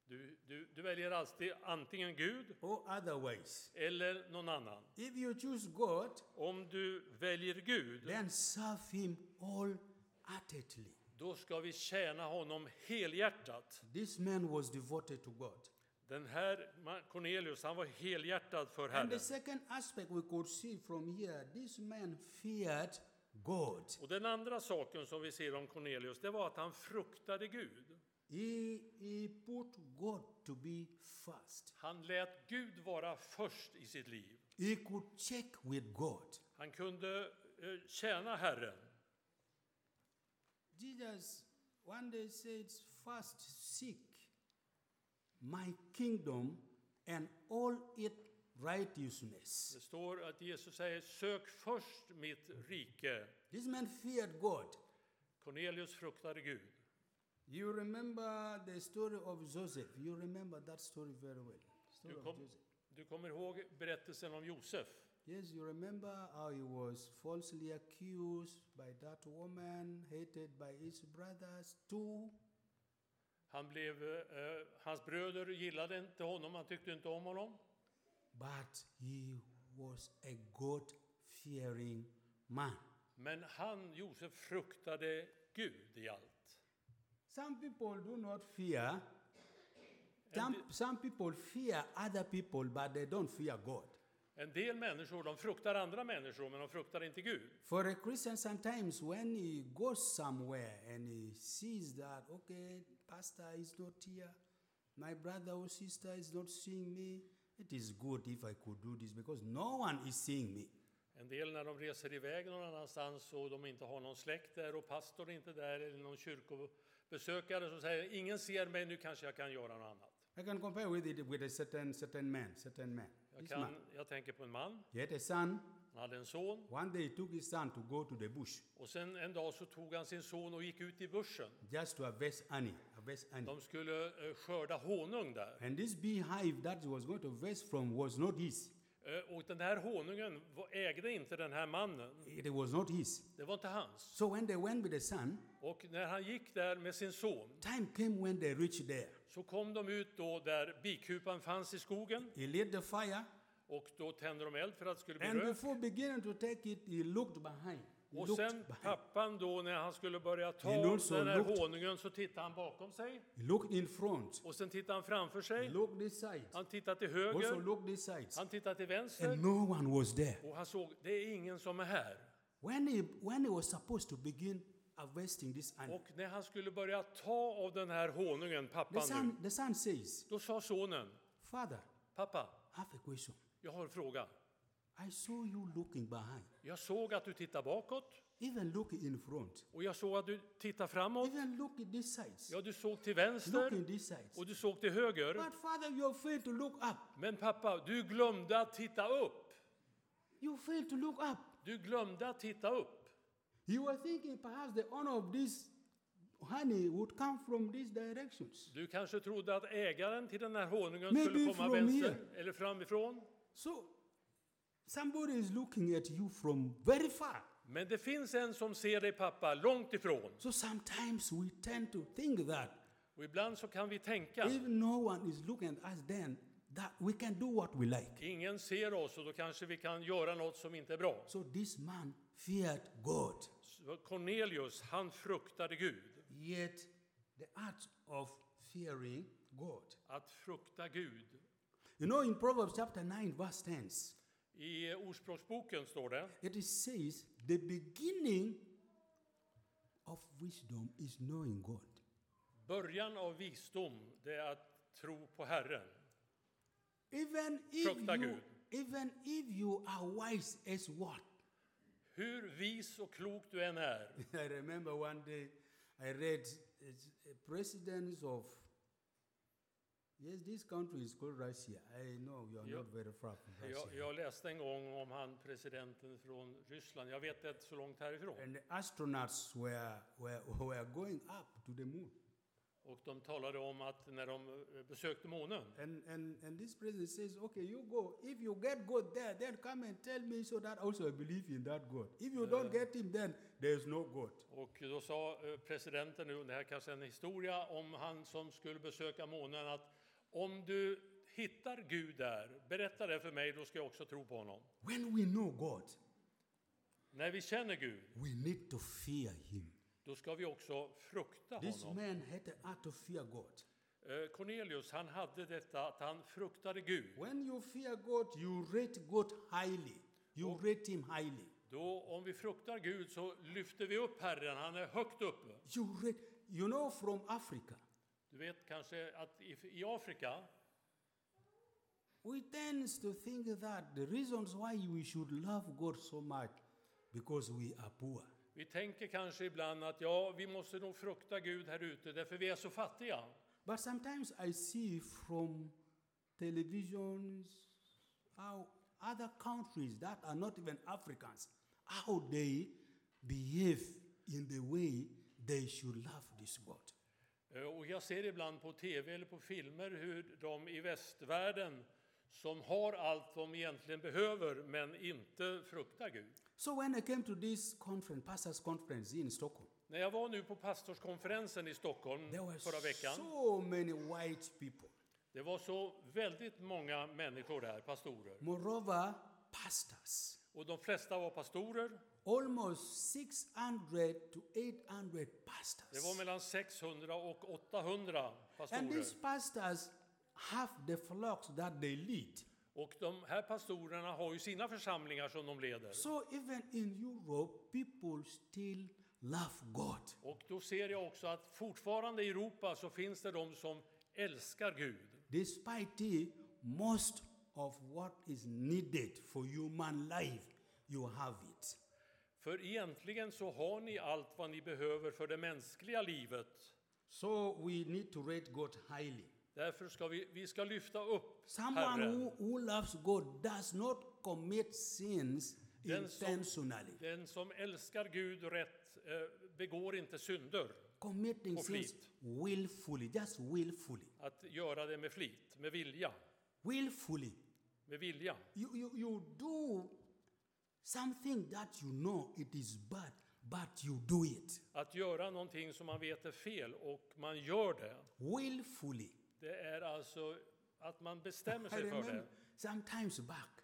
S2: Du, du, du väljer alltid antingen Gud
S1: or otherwise.
S2: eller någon annan.
S1: If you choose God,
S2: Om du väljer Gud,
S1: then serve Him wholeheartedly.
S2: då ska vi tjäna honom helhjärtat.
S1: This man was devoted to God.
S2: Den här Ma- Cornelius, han var helhjärtad för
S1: And
S2: Herren.
S1: the second aspect we could see from here this man feared God.
S2: Och den andra saken som vi ser om Cornelius, det var att han fruktade Gud.
S1: He, he put God to be first,
S2: Han lät Gud vara först i sitt liv.
S1: he could check with God.
S2: Han kunde eh, tjäna Herren.
S1: Jesus one day said, First seek my kingdom and all its righteousness.
S2: Det står att Jesus säger, sök först mitt rike.
S1: This man feared God.
S2: Cornelius fruktade Gud.
S1: You remember the story of Joseph. You remember that story very well. Story
S2: Du,
S1: of
S2: kom,
S1: Joseph.
S2: du kommer ihåg berättelsen om Josef?
S1: Yes, you remember how he was falsely accused by that woman, hated by his brothers too.
S2: Han blev, eh, hans bröder gillade inte honom, han tyckte inte om honom.
S1: But he was a God fearing man.
S2: Men han, Josef, fruktade Gud i allt.
S1: Some people do not fear. Some, some people fear other people, but they don't fear God.
S2: En del människor, de fruktar andra människor, men de fruktar inte Gud.
S1: For a Christian, sometimes when he goes somewhere and he sees that, okay, pastor is not here, my brother or sister is not seeing me, it is good if I could do this because no one is seeing me.
S2: En del när de reser iväg någon annanstans och de inte har någon släkt där och pastorn inte där eller någon kyrkobesökare som säger ingen ser mig, nu kanske jag kan göra något annat.
S1: I can compare with it with a certain certain man, certain man.
S2: Jag,
S1: This man.
S2: kan, jag tänker på en man,
S1: He had a son.
S2: han hade en son
S1: One day he took his son to go to the bush
S2: och sen en dag så tog han sin son och gick ut i bussen.
S1: just to harvest honey, harvest honey.
S2: De skulle eh, skörda honung där.
S1: And this beehive that was going to vest from was not his.
S2: Eh, Och den här honungen var- ägde inte den här mannen.
S1: It was not his.
S2: Det var inte hans.
S1: So when they went with the son,
S2: Och när han gick där med sin son
S1: time came when they reached there.
S2: så kom de ut då där bikupan fanns i skogen
S1: He lit the fire,
S2: och då tände de eld för att det skulle bli
S1: and
S2: rök.
S1: before beginning to take it, he looked behind. He
S2: Och
S1: looked
S2: sen
S1: behind.
S2: pappan då när han skulle börja ta
S1: He also
S2: den här
S1: looked-
S2: honungen så tittade han bakom sig
S1: He looked in front.
S2: och sen tittade han framför
S1: He
S2: sig.
S1: looked this side.
S2: Han tittade till
S1: Also
S2: höger,
S1: looked this side.
S2: han tittade till
S1: And
S2: vänster
S1: no one was there.
S2: och han såg det är ingen som är här.
S1: When he when he was supposed to begin harvesting this honey.
S2: Och när han skulle börja ta av den här honungen,
S1: The
S2: pappan nu,
S1: son, the son says,
S2: då sa sonen,
S1: Father,
S2: pappa,
S1: I have a question.
S2: jag har en fråga.
S1: I saw you looking behind,
S2: Jag såg att du tittar bakåt
S1: even looking in front,
S2: och jag såg att du tittar framåt.
S1: even looking this side,
S2: Ja, du såg till
S1: looking
S2: vänster
S1: this side.
S2: och du såg till höger.
S1: But Father, you failed to look up.
S2: Men pappa, du glömde att titta upp.
S1: You failed to look up.
S2: Du glömde att titta upp.
S1: You were thinking perhaps the honor of this honey would come from these directions.
S2: Du kanske trodde att ägaren till den här honungen
S1: Maybe
S2: skulle komma
S1: from
S2: vänster
S1: here.
S2: eller framifrån.
S1: So somebody is looking at you from very far.
S2: Men det finns en som ser dig, pappa, långt ifrån.
S1: So sometimes we tend to think that
S2: Och ibland så kan vi tänka,
S1: if no one is looking at us, then that we can do what we like.
S2: ingen ser oss och då kanske vi kan göra något som inte är bra.
S1: So this man feared God,
S2: Så Cornelius, han fruktade Gud.
S1: yet the art of fearing God.
S2: Att frukta Gud.
S1: You know, in Proverbs chapter 9, verse 10,
S2: I Ordspråksboken står det,
S1: it is says, The beginning of wisdom is knowing God.
S2: början av visdom, det är att tro på Herren.
S1: Even if,
S2: Frukta
S1: you,
S2: Gud.
S1: even if you are wise as what?
S2: Hur vis och klok du än är.
S1: I remember one day I read it's, uh, presidents of yes, this country is called Russia. I know you are
S2: Yeah.
S1: not very far from Russia.
S2: Jag, jag läste en gång om han presidenten från Ryssland. Jag vet inte så långt härifrån.
S1: And the astronauts were, were were going up to the moon.
S2: Och de talade om att när de eh, besökte månen.
S1: And, and and this president says, okay, you go. If you get God there, then come and tell me so that also I believe in that God. If you don't get him, then there is no God.
S2: Och då sa eh, presidenten nu, det här kanske är en historia om han som skulle besöka månen, att om du hittar Gud där, berätta det för mig, då ska jag också tro på honom.
S1: When we know God,
S2: När vi känner Gud,
S1: we need to fear him.
S2: då ska vi också frukta
S1: This
S2: honom.
S1: man had the art to fear God.
S2: Eh, Cornelius, han hade detta att han fruktade Gud.
S1: When you fear God, you rate God highly. You rate Him highly.
S2: Då, om vi fruktar Gud så lyfter vi upp Herren, han är högt uppe.
S1: You rate, you know, from Africa,
S2: Du vet kanske att i, i Afrika,
S1: we tend to think that the reasons why we should love God so much because we are poor.
S2: vi tänker kanske ibland att ja, vi måste nog frukta Gud här ute därför vi är så fattiga.
S1: But sometimes I see from televisions how other countries that are not even Africans, how they behave in the way they should love this God.
S2: Eh, Och jag ser ibland på tv eller på filmer hur de i västvärlden som har allt de egentligen behöver men inte fruktar Gud.
S1: So when I came to this conference, pastors' conference in Stockholm,
S2: När jag var nu på pastorskonferensen i Stockholm
S1: there were
S2: förra veckan,
S1: so many white people.
S2: det var så väldigt många människor där, pastorer.
S1: Moreover, pastors.
S2: Och de flesta var pastorer.
S1: Almost 600 to 800
S2: Det var
S1: pastors.
S2: mellan 600 och 800
S1: And
S2: pastorer.
S1: these pastors have the flocks that they lead.
S2: Och de här pastorerna har ju sina församlingar som de leder.
S1: So even in Europe, people still love God.
S2: Och då ser jag också att fortfarande i Europa så finns det de som älskar Gud.
S1: Despite it, most of what is needed for human life, you have it.
S2: För egentligen så har ni allt vad ni behöver för det mänskliga livet.
S1: So we need to rate God highly.
S2: Därför ska vi, vi ska lyfta upp
S1: Someone
S2: Herren.
S1: who, who loves God does not commit sins
S2: Then some-
S1: intentionally.
S2: Den som älskar Gud rätt eh, begår inte synder.
S1: Committing
S2: Och
S1: sins
S2: flit.
S1: willfully, just willfully.
S2: Att göra det med flit, med vilja.
S1: Willfully.
S2: Med vilja.
S1: You, you, you do something that you know it is bad, but you do it
S2: Att göra någonting som man vet är fel och man gör det.
S1: willfully.
S2: Det är alltså att man bestämmer
S1: I
S2: sig för
S1: remember
S2: det.
S1: sometimes back,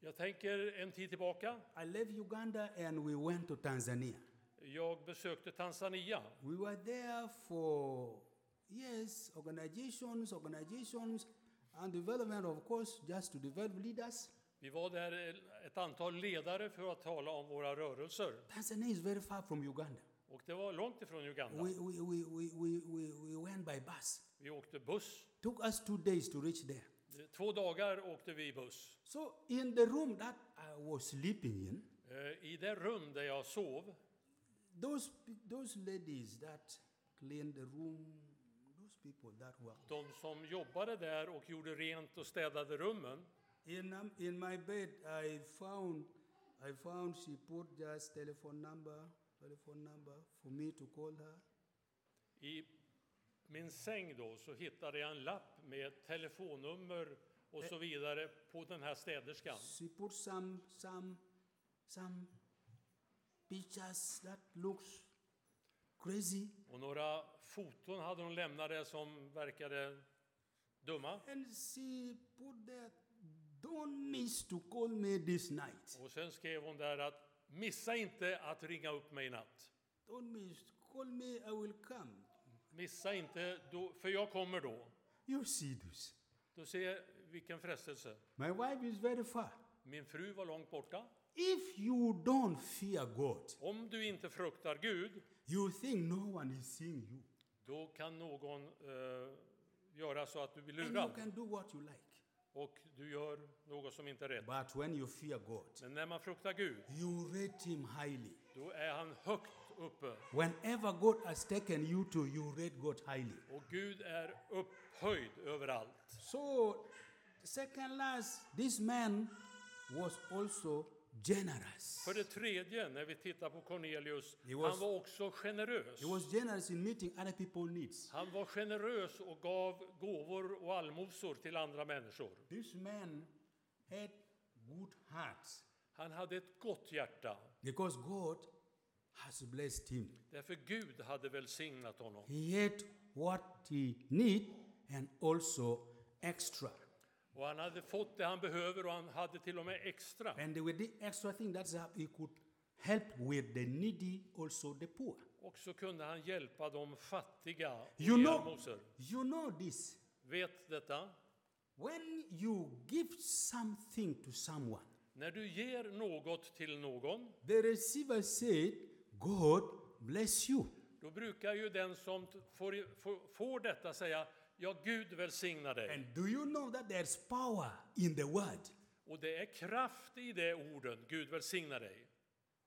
S2: Jag tänker en tid tillbaka.
S1: I left Uganda and we went to Tanzania.
S2: Jag besökte Tanzania.
S1: We were there for yes, organizations, organizations, and development, of course, just to develop leaders.
S2: Vi var där eh, ett antal ledare för att tala om våra rörelser.
S1: Tanzania is very far from Uganda.
S2: Och det var långt ifrån Uganda.
S1: We, we, we, we, we, we, we went by bus.
S2: Vi åkte buss.
S1: Took us two days to reach there.
S2: Två dagar åkte vi buss.
S1: So in the room that I was sleeping in,
S2: Eh, I det rum där jag sov,
S1: those, pe- those ladies that cleaned the room, those people that worked.
S2: de som jobbade där och gjorde rent och städade rummen,
S1: In, um, in my bed, I found, I found she put just telephone number, telephone number for me to call her.
S2: i min säng då så hittade jag en lapp med ett telefonnummer och så vidare på den här städerskan.
S1: She put some, some, some pictures that looks crazy.
S2: Och några foton hade hon lämnade som verkade dumma.
S1: And she put that, don't miss to call me this night.
S2: Och sen skrev hon där att missa inte att ringa upp mig i natt.
S1: Don't miss, call me, I will come.
S2: Missa inte, då, för jag kommer då.
S1: You see this.
S2: Då ser jag vilken frestelse.
S1: My wife is very far.
S2: Min fru var långt borta.
S1: If you don't fear God,
S2: Om du inte fruktar Gud,
S1: you think no one is seeing you.
S2: då kan någon eh, göra så att du blir
S1: And you
S2: lurad
S1: can do what you like.
S2: och du gör något som inte är rätt.
S1: But when you fear God,
S2: Men när man fruktar Gud,
S1: you rate Him highly.
S2: då är han högt uppe
S1: Whenever God has taken you to, you rate God highly.
S2: och Gud är upphöjd överallt.
S1: So, second last, this man was also generous.
S2: För det tredje, när vi tittar på Cornelius,
S1: He was-
S2: han var också generös.
S1: He was generous in meeting other people's needs.
S2: Han var generös och gav gåvor och allmosor till andra människor.
S1: This man had good heart
S2: Han hade ett gott hjärta,
S1: because God has blessed him.
S2: därför Gud hade välsignat honom.
S1: He had what he need and also extra.
S2: Och han hade fått det han behöver och han hade till och med extra.
S1: And with the extra thing, that's how he could help with the needy, also the poor.
S2: Och så kunde han hjälpa de fattiga och
S1: You
S2: ge
S1: know-
S2: allmosor.
S1: You know this.
S2: Vet detta?
S1: When you give something to someone,
S2: När du ger något till någon,
S1: the receiver said, God bless you.
S2: då brukar ju den som t- får, får, får detta säga Ja, Gud välsignar dig.
S1: And do you know that there's power in the word?
S2: Och det är kraft i det orden, Gud välsignar dig.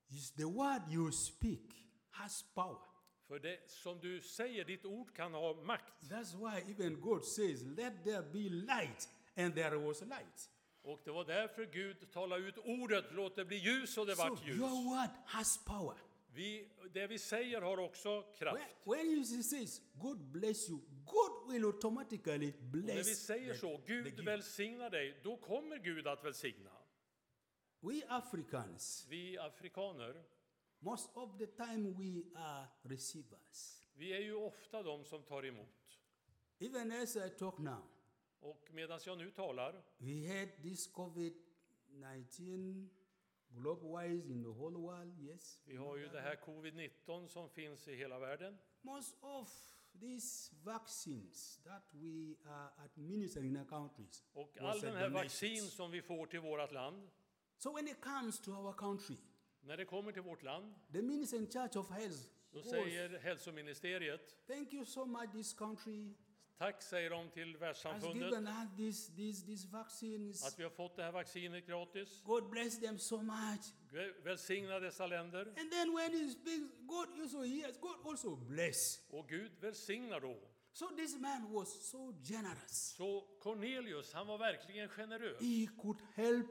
S1: is the word you speak has power.
S2: För det som du säger, ditt ord kan ha makt.
S1: That's why even God says, Let there be light, and there was light.
S2: Och det var därför Gud talade ut ordet, låt det bli ljus och det
S1: So
S2: vart ljus.
S1: your word has power.
S2: Vi, det vi säger har också
S1: When,
S2: kraft.
S1: when you says, God bless you, God will automatically
S2: När vi
S1: bless.
S2: säger så,
S1: the
S2: Gud
S1: gift.
S2: välsignar dig, då kommer Gud att välsigna.
S1: We Africans,
S2: Vi afrikaner,
S1: most of the time we are receivers.
S2: vi är ju ofta de som tar emot.
S1: Even as I talk now,
S2: Och medan jag nu talar,
S1: we had this COVID 19 globalized in the whole world, yes?
S2: vi har ju det här covid-19 som finns i hela världen.
S1: Most of these vaccines that we are administering in our countries.
S2: Och
S1: was
S2: all
S1: a
S2: den här
S1: donations.
S2: vaccin som vi får till vårt land,
S1: So when it comes to our country,
S2: när det kommer till vårt land,
S1: the minister in charge of health
S2: då
S1: goes,
S2: säger hälsoministeriet,
S1: thank you so much, this country
S2: tack säger de till
S1: has
S2: världssamfundet,
S1: given us these, these, these vaccines.
S2: att vi har fått det här vaccinet gratis.
S1: God bless them so much.
S2: Gud Välsigna dessa länder.
S1: And then when he speaks, God also hears, God also bless.
S2: Och Gud välsignar då.
S1: So this man was so generous.
S2: Så Cornelius, han var verkligen generös.
S1: He could help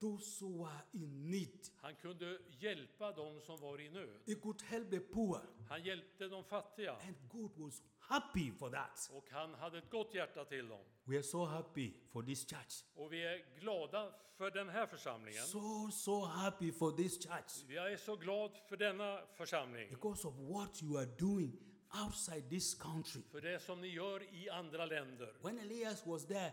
S1: those who are in need.
S2: Han kunde hjälpa dem som var i nöd.
S1: He could help the poor.
S2: Han hjälpte de fattiga
S1: And God was happy for that.
S2: och han hade ett gott hjärta till dem.
S1: We are so happy for this church.
S2: Och vi är glada för den här församlingen.
S1: So, so happy for this church
S2: Jag är så glad för denna församling,
S1: because of what you are doing outside this country.
S2: för det som ni gör i andra länder.
S1: When Elias was there,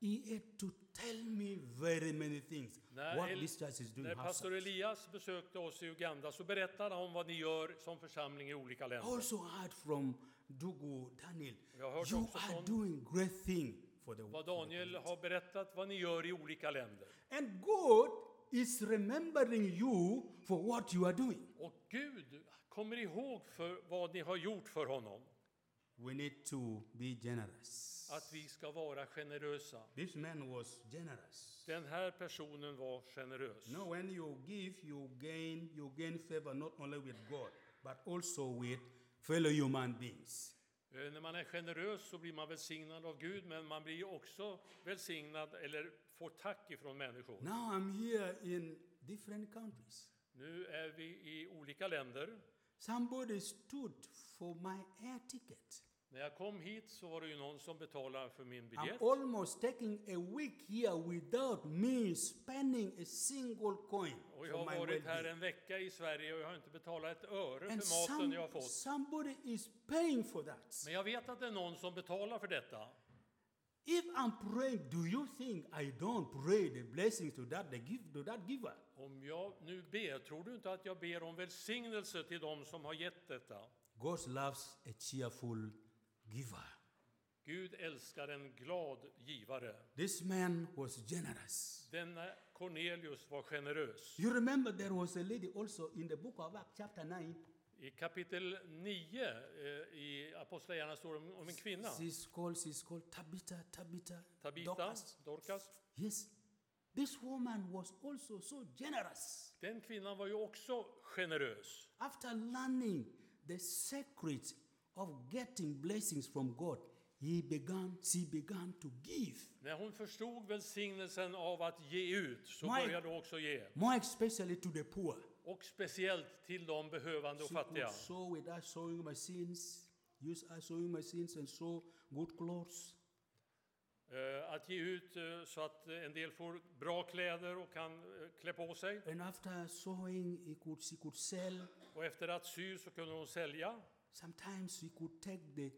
S1: he had to tell me very many things
S2: När,
S1: what
S2: El-
S1: this church is doing
S2: när pastor
S1: outside.
S2: Elias besökte oss i Uganda så berättade han om vad ni gör som församling i olika
S1: I
S2: länder.
S1: also heard from Dugu Daniel,
S2: Jag hörde
S1: you
S2: också
S1: are
S2: från-
S1: doing great thing for the
S2: Vad
S1: world.
S2: Daniel har berättat, vad ni gör i olika länder.
S1: And God is remembering you for what you are doing.
S2: Och Gud kommer ihåg för vad ni har gjort för honom.
S1: We need to be generous.
S2: Att vi ska vara generösa.
S1: This man was generous.
S2: Den här personen var generös.
S1: No, when you give, you gain. You gain favor not only with God, but also with fellow human beings.
S2: Eh, När man är generös så blir man välsignad av Gud, men man blir ju också välsignad eller får tack ifrån människor.
S1: Now I'm here in different countries.
S2: Nu är vi i olika länder.
S1: Somebody stood for my air ticket.
S2: När jag kom hit så var det ju någon som betalade för min
S1: I'm
S2: biljett.
S1: almost taking a week here without me spending a single coin
S2: Och jag
S1: for my
S2: har varit här
S1: well-being.
S2: en vecka i Sverige och jag har inte betalat ett öre
S1: And
S2: för maten
S1: some,
S2: jag har fått.
S1: somebody is paying for that.
S2: Men jag vet att det är någon som betalar för detta.
S1: If I'm praying, do you think I don't pray the blessings to that the give to that giver?
S2: Om jag nu ber, tror du inte att jag ber om välsignelse till dem som har gett detta?
S1: God loves a cheerful giver.
S2: Gud älskar en glad givare.
S1: This man was generous.
S2: Denna Cornelius var generös.
S1: You remember there was a lady also in the book of Acts, chapter 9.
S2: I kapitel 9 eh, i Apostlagärningarna står det om- om en kvinna,
S1: She's called, she's called Tabitha, Tabitha,
S2: Tabita,
S1: Dorcas.
S2: Dorcas.
S1: Yes. This woman was also so generous.
S2: Den kvinnan var ju också generös.
S1: After learning the secret of getting blessings from God, he began, she began to give.
S2: När hon förstod välsignelsen av att ge ut så
S1: My-
S2: började hon också ge.
S1: more especially to the poor.
S2: Och speciellt till de behövande och
S1: She could
S2: fattiga.
S1: sew without sewing machines, use our sewing machines and sew good clothes.
S2: Eh, Att ge ut eh, så att eh, en del får bra kläder och kan eh, klä på sig.
S1: And after sewing, he could, she could sell.
S2: Och efter att sy så kunde hon sälja.
S1: Sometimes she could take the,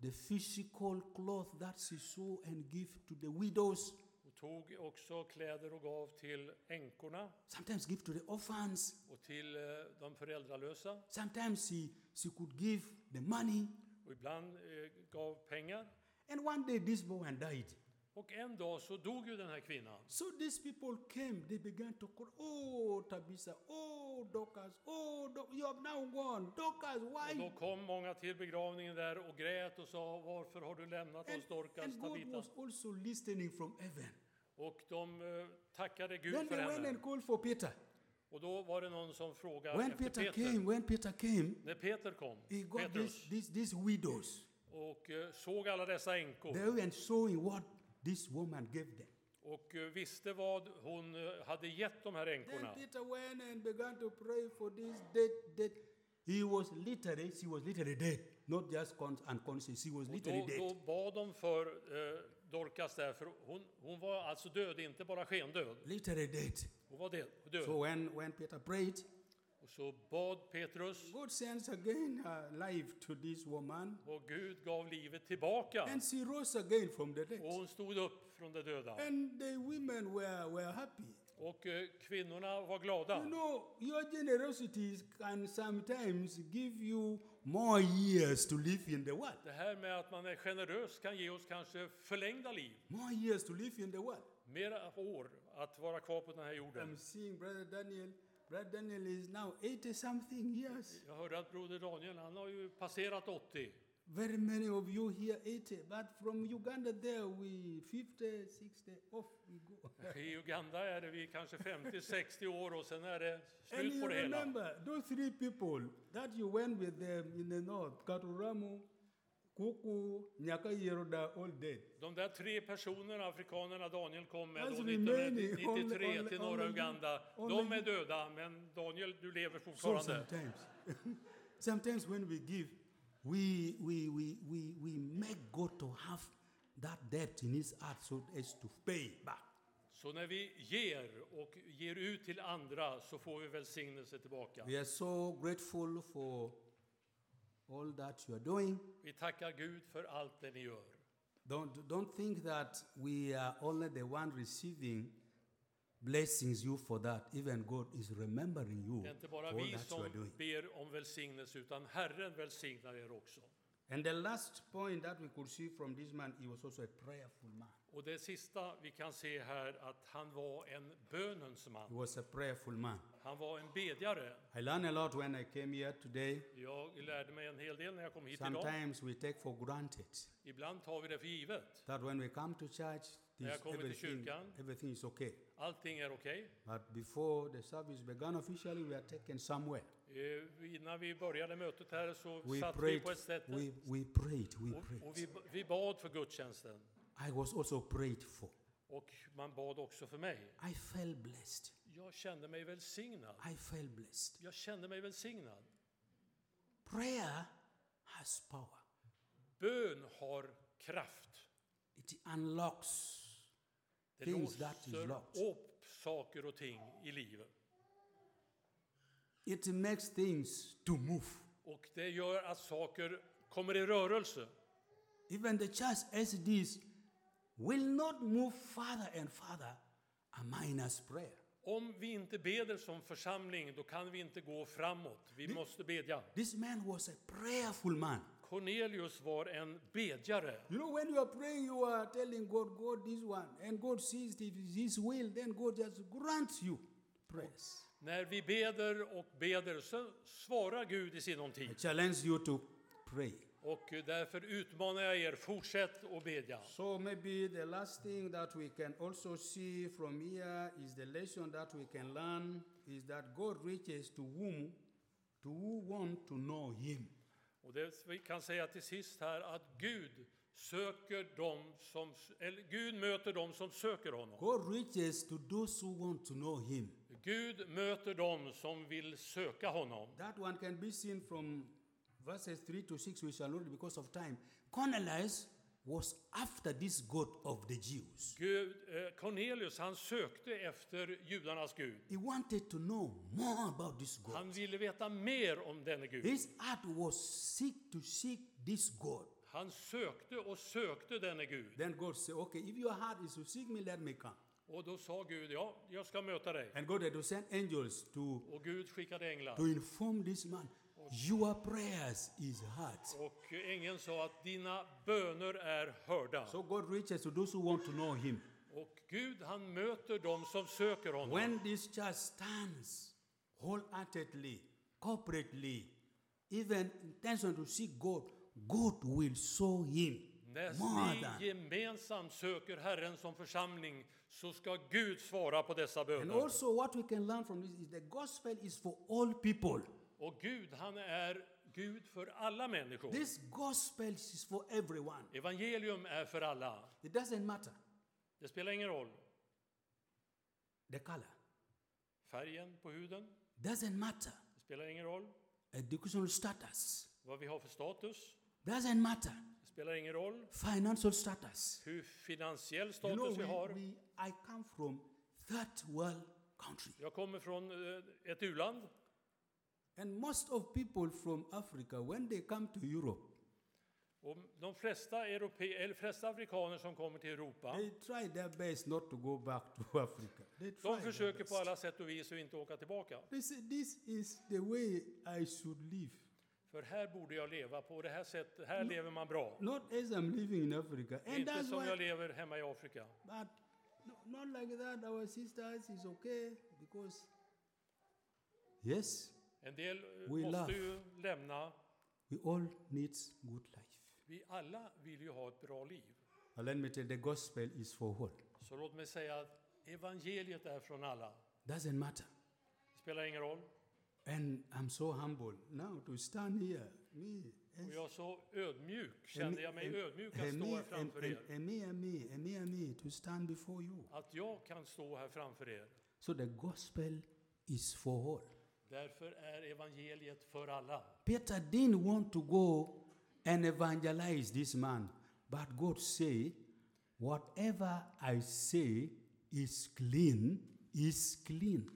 S1: the physical cloth that she sew and give to the widows.
S2: Hon tog också kläder och gav till änkorna
S1: Sometimes give to the orphans.
S2: och till eh, de föräldralösa.
S1: Sometimes she, she could give the money.
S2: Och ibland eh, gav pengar.
S1: And one day this woman died.
S2: Och en dag så dog ju den här kvinnan.
S1: So these people came, they began to call, Oh, Tabitha, oh, Dorcas, oh, Do- you have now gone. Dorcas, why?
S2: Och då kom många till begravningen där och grät och sa varför har du lämnat
S1: And,
S2: oss Dorcas,
S1: and God
S2: Tabita?
S1: was also listening from heaven.
S2: Och de eh, tackade Gud
S1: Then
S2: för
S1: they went
S2: henne.
S1: and called for Peter.
S2: Och då var det någon som frågade
S1: When
S2: efter
S1: Peter
S2: Peter.
S1: came, when Peter came,
S2: När Peter kom,
S1: he got
S2: Petrus,
S1: these, these, these widows.
S2: och eh, såg alla dessa änkor
S1: They went showing what this woman gave them.
S2: och eh, visste vad hon eh, hade gett de här
S1: Then
S2: änkorna.
S1: Peter went and began to pray for this dead, dead. He was literally, she was literally dead, not just con- unconscious. She was
S2: Och
S1: literally
S2: då, då
S1: dead.
S2: bad de för eh, Dorcas där, för hon, hon var alltså död, inte bara skendöd.
S1: Literally dead.
S2: Hon var död. död.
S1: So when, when Peter prayed,
S2: Och så bad Petrus
S1: God sends again her life to this woman,
S2: och Gud gav livet tillbaka.
S1: and she rose again from the dead.
S2: Och hon stod upp från de döda.
S1: And the women were, were happy.
S2: Och eh, kvinnorna var glada.
S1: You know, your generosity can sometimes give you more years to live in the world.
S2: Det här med att man är generös kan ge oss kanske förlängda liv,
S1: More years to live in the world.
S2: mera år att vara kvar på den här
S1: I'm
S2: jorden.
S1: seeing Brother Daniel. Brother Daniel is now 80 something years.
S2: Jag hörde att broder Daniel, han har ju passerat 80.
S1: Very many of you here 80, but from Uganda there we 50, 60, off we go.
S2: I Uganda är det vi kanske 50-60 år och sen är det
S1: And
S2: slut
S1: you
S2: på det hela.
S1: remember those three people that you went with them in the north, Katuramu, Kuku, Nyaka Yeroda, all dead.
S2: De där tre personerna, afrikanerna Daniel kom med då
S1: Alltså, remaining,
S2: 1993
S1: only-
S2: till
S1: only-
S2: norra Uganda,
S1: only-
S2: de är döda, men Daniel, du lever
S1: So
S2: fortfarande.
S1: sometimes, sometimes when we give, we, we, we, we, we make God to have that debt in his heart so as to pay back.
S2: Så när vi ger och ger ut till andra så får vi välsignelse tillbaka.
S1: We are so grateful for all that you are doing.
S2: Vi tackar Gud för allt det ni gör.
S1: Don't, don't think that we are only the one receiving blessings you for that. Even God is remembering you
S2: Det är inte
S1: for
S2: bara
S1: all
S2: vi
S1: that you are
S2: som
S1: doing.
S2: ber om välsignelse, utan Herren välsignar er också.
S1: And the last point that we could see from this man, he was also a prayerful man.
S2: Och det sista vi kan se här att han var en bönens
S1: He
S2: man.
S1: was a prayerful man.
S2: Han var en bedjare.
S1: I learned a lot when I came here today.
S2: Jag lärde mig en hel del när jag kom hit idag.
S1: Sometimes we take for granted
S2: Ibland tar vi det för givet.
S1: that when we come to church,
S2: När
S1: this,
S2: jag kommer till
S1: everything,
S2: kyrkan.
S1: everything is okay.
S2: Allting är okej.
S1: But before the service began officially, we are taken somewhere.
S2: Eh, Innan vi började mötet här så
S1: We
S2: satt vi
S1: prayed.
S2: på ett ställe
S1: We, we prayed. We
S2: och, och
S1: prayed.
S2: vi, vi bad för gudstjänsten.
S1: I was also prayed for.
S2: Och man bad också för mig.
S1: I felt blessed.
S2: Jag kände mig välsignad.
S1: I felt blessed.
S2: Jag kände mig välsignad.
S1: Prayer has power.
S2: Bön har kraft.
S1: It unlocks.
S2: Det
S1: Things that is
S2: låser
S1: locked.
S2: upp saker och ting i livet.
S1: It makes things to move.
S2: Och det gör att saker kommer i rörelse.
S1: Even the church as it is will not move farther and farther a minus prayer.
S2: Om vi inte beder som församling, då kan vi inte gå framåt. Vi måste bedja.
S1: This man was a prayerful man.
S2: Cornelius var en bedjare.
S1: You know, when you are praying, you are telling God, God, this one, and God sees it is His will, then God just grants you praise.
S2: När vi beder och beder så svarar Gud i sinom
S1: I
S2: tid.
S1: challenge you to pray.
S2: Och eh, därför utmanar jag er, fortsätt att bedja.
S1: So, maybe the last thing that we can also see from here is the lesson that we can learn is that God reaches to whom, to who want to know Him.
S2: Och det vi kan säga till sist här att Gud söker dem som, eller Gud möter dem som söker honom.
S1: God reaches to those who want to know Him.
S2: Gud möter dem som vill söka honom.
S1: That one can be seen from verses 3 to 6, we shall not read because of time. Cornelius was after this God of the Jews.
S2: Gud, eh, Cornelius, han sökte efter judarnas Gud.
S1: He wanted to know more about this God.
S2: Han ville veta mer om denne Gud.
S1: His heart was seek to seek this God.
S2: Han sökte och sökte denne Gud.
S1: Then God said, Okay, if your heart is to seek me, let me come.
S2: Och då sa Gud, ja, jag ska möta dig.
S1: And God had to send angels to,
S2: Och Gud skickade änglar.
S1: to inform this man, Your prayers is heard.
S2: Och ängeln sa att dina böner är hörda.
S1: So God reaches to those who want to know Him.
S2: Och Gud, han möter dem som söker honom.
S1: When this church stands wholeheartedly, corporately, even intention to seek God, God will show him
S2: När
S1: more
S2: vi
S1: than.
S2: gemensamt söker Herren som församling så ska Gud svara på dessa
S1: And
S2: böner.
S1: also, what we can learn from this is the gospel is for all people.
S2: Och Gud, han är Gud för alla människor.
S1: This gospel is for everyone.
S2: Evangelium är för alla.
S1: It doesn't matter
S2: Det spelar ingen roll
S1: the color,
S2: färgen på huden,
S1: doesn't matter
S2: det spelar ingen roll
S1: educational status,
S2: vad vi har för status,
S1: doesn't matter
S2: det spelar ingen roll
S1: financial status.
S2: hur finansiell
S1: You know,
S2: status vi
S1: we,
S2: har.
S1: we, I come from third world country.
S2: Jag kommer från eh, ett u-land
S1: And most of people from Africa, when they come to Europe,
S2: och de flesta, europe- eller flesta afrikaner som kommer till Europa,
S1: they try their best not to go back to Africa. They try.
S2: de
S1: their
S2: försöker på
S1: best.
S2: alla sätt och vis att inte åka tillbaka.
S1: They say, this is the way I should live.
S2: För här borde jag leva, på det här sättet, här lever man bra.
S1: Not as I'm living in Africa. Mm. And
S2: Inte
S1: that's
S2: som
S1: why,
S2: jag lever hemma i Afrika.
S1: but no, not like that. Our sisters is okay because, yes,
S2: En del eh,
S1: We
S2: måste
S1: love.
S2: ju lämna.
S1: we all need good life.
S2: Vi alla vill ju ha ett bra liv.
S1: And let me tell you, the gospel is for all.
S2: Så låt mig säga att evangeliet är från alla.
S1: Doesn't matter.
S2: Det spelar ingen roll.
S1: And I'm so humble now to stand here. Me, yes.
S2: Och jag är så ödmjuk,
S1: And
S2: kände jag mig ödmjuk att
S1: and
S2: stå
S1: me,
S2: här
S1: and,
S2: framför
S1: and,
S2: er.
S1: and me, and me, and me, and me, to stand before you.
S2: Att jag kan stå här framför er.
S1: So the gospel is for all.
S2: Därför är evangeliet för alla.
S1: Peter didn't want to go and evangelize this man, but God say, "Whatever I say is clean, is clean."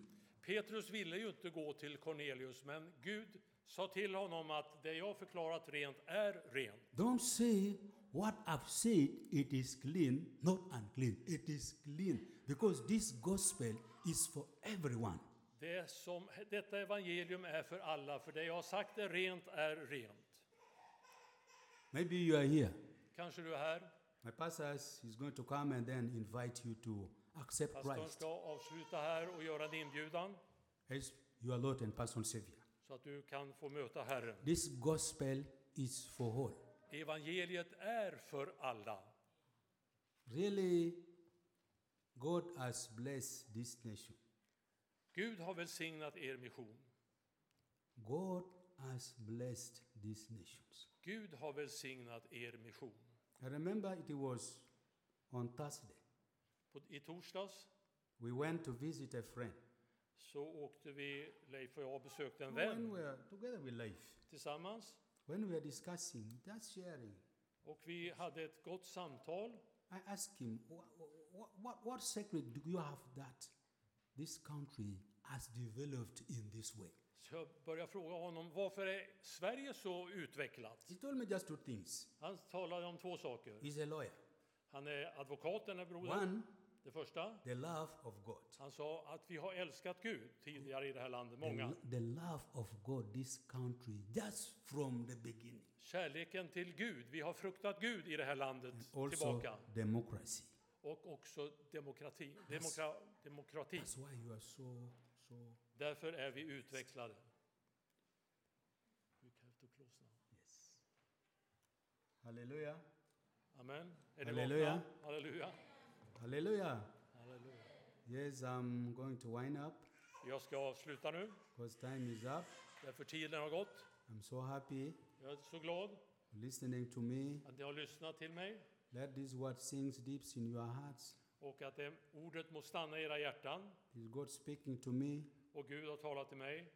S2: Petrus ville ju inte gå till Cornelius, men Gud sa till honom att det jag förklarat rent är rent.
S1: Don't say what I've said. It is clean, not unclean. It is clean because this gospel is for everyone.
S2: Det som, detta evangelium är för alla, för det jag har sagt är rent är rent.
S1: Maybe you are here.
S2: Kanske du är här.
S1: My pastor is going to come and then invite you to accept
S2: Pastorn
S1: Christ
S2: ska avsluta här och göra en inbjudan
S1: as your Lord and personal Savior.
S2: så att du kan få möta Herren.
S1: This gospel is for all.
S2: Evangeliet är för alla.
S1: Really, God has blessed this nation.
S2: Gud har välsignat er mission.
S1: God has blessed these nations.
S2: Gud har välsignat er mission.
S1: I remember it was on Thursday.
S2: På, I torsdags
S1: We went to visit a friend.
S2: så åkte vi, Leif och jag besökte en
S1: When
S2: vän
S1: we were together with life,
S2: tillsammans
S1: when we were discussing, just sharing,
S2: och vi hade ett gott samtal.
S1: I asked him, what, what, what secret do you have that this country has developed in this way?
S2: Så jag började fråga honom varför är Sverige så utvecklat?
S1: He told me just two things.
S2: Han talade om två saker.
S1: He's a lawyer.
S2: Han är advokat, den här brodern.
S1: One,
S2: Det första.
S1: the love of God.
S2: Han sa att vi har älskat Gud tidigare i det här landet,
S1: The,
S2: många.
S1: lo- the love of God, this country, just from the beginning.
S2: Kärleken till Gud. Vi har fruktat Gud i det här landet
S1: Mm. Also,
S2: tillbaka.
S1: democracy.
S2: Och också demokrati. Demokra, demokrati.
S1: That's why you are so, so.
S2: Därför är vi utvecklade. We have to close now.
S1: Hallelujah.
S2: Amen. Är ni
S1: Halleluja.
S2: vakna? Halleluja.
S1: Hallelujah.
S2: Halleluja.
S1: Yes, I'm going to wind up
S2: Jag ska sluta nu,
S1: because time is up.
S2: därför tiden har gått.
S1: I'm so happy
S2: Jag är så glad
S1: listening to me.
S2: att ni har lyssnat till mig
S1: Let this word sink deep in your hearts.
S2: och att det, ordet må stanna i era hjärtan.
S1: Is God speaking to me?
S2: Och Gud har talat till mig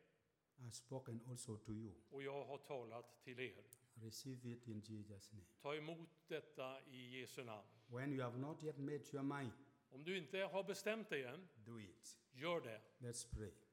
S1: I've spoken also to you.
S2: och jag har talat till er.
S1: Receive it in Jesus' name.
S2: Ta emot detta i Jesu namn.
S1: When you have not yet made your mind,
S2: Om du inte har bestämt dig än,
S1: do it.
S2: gör det.
S1: Let's pray.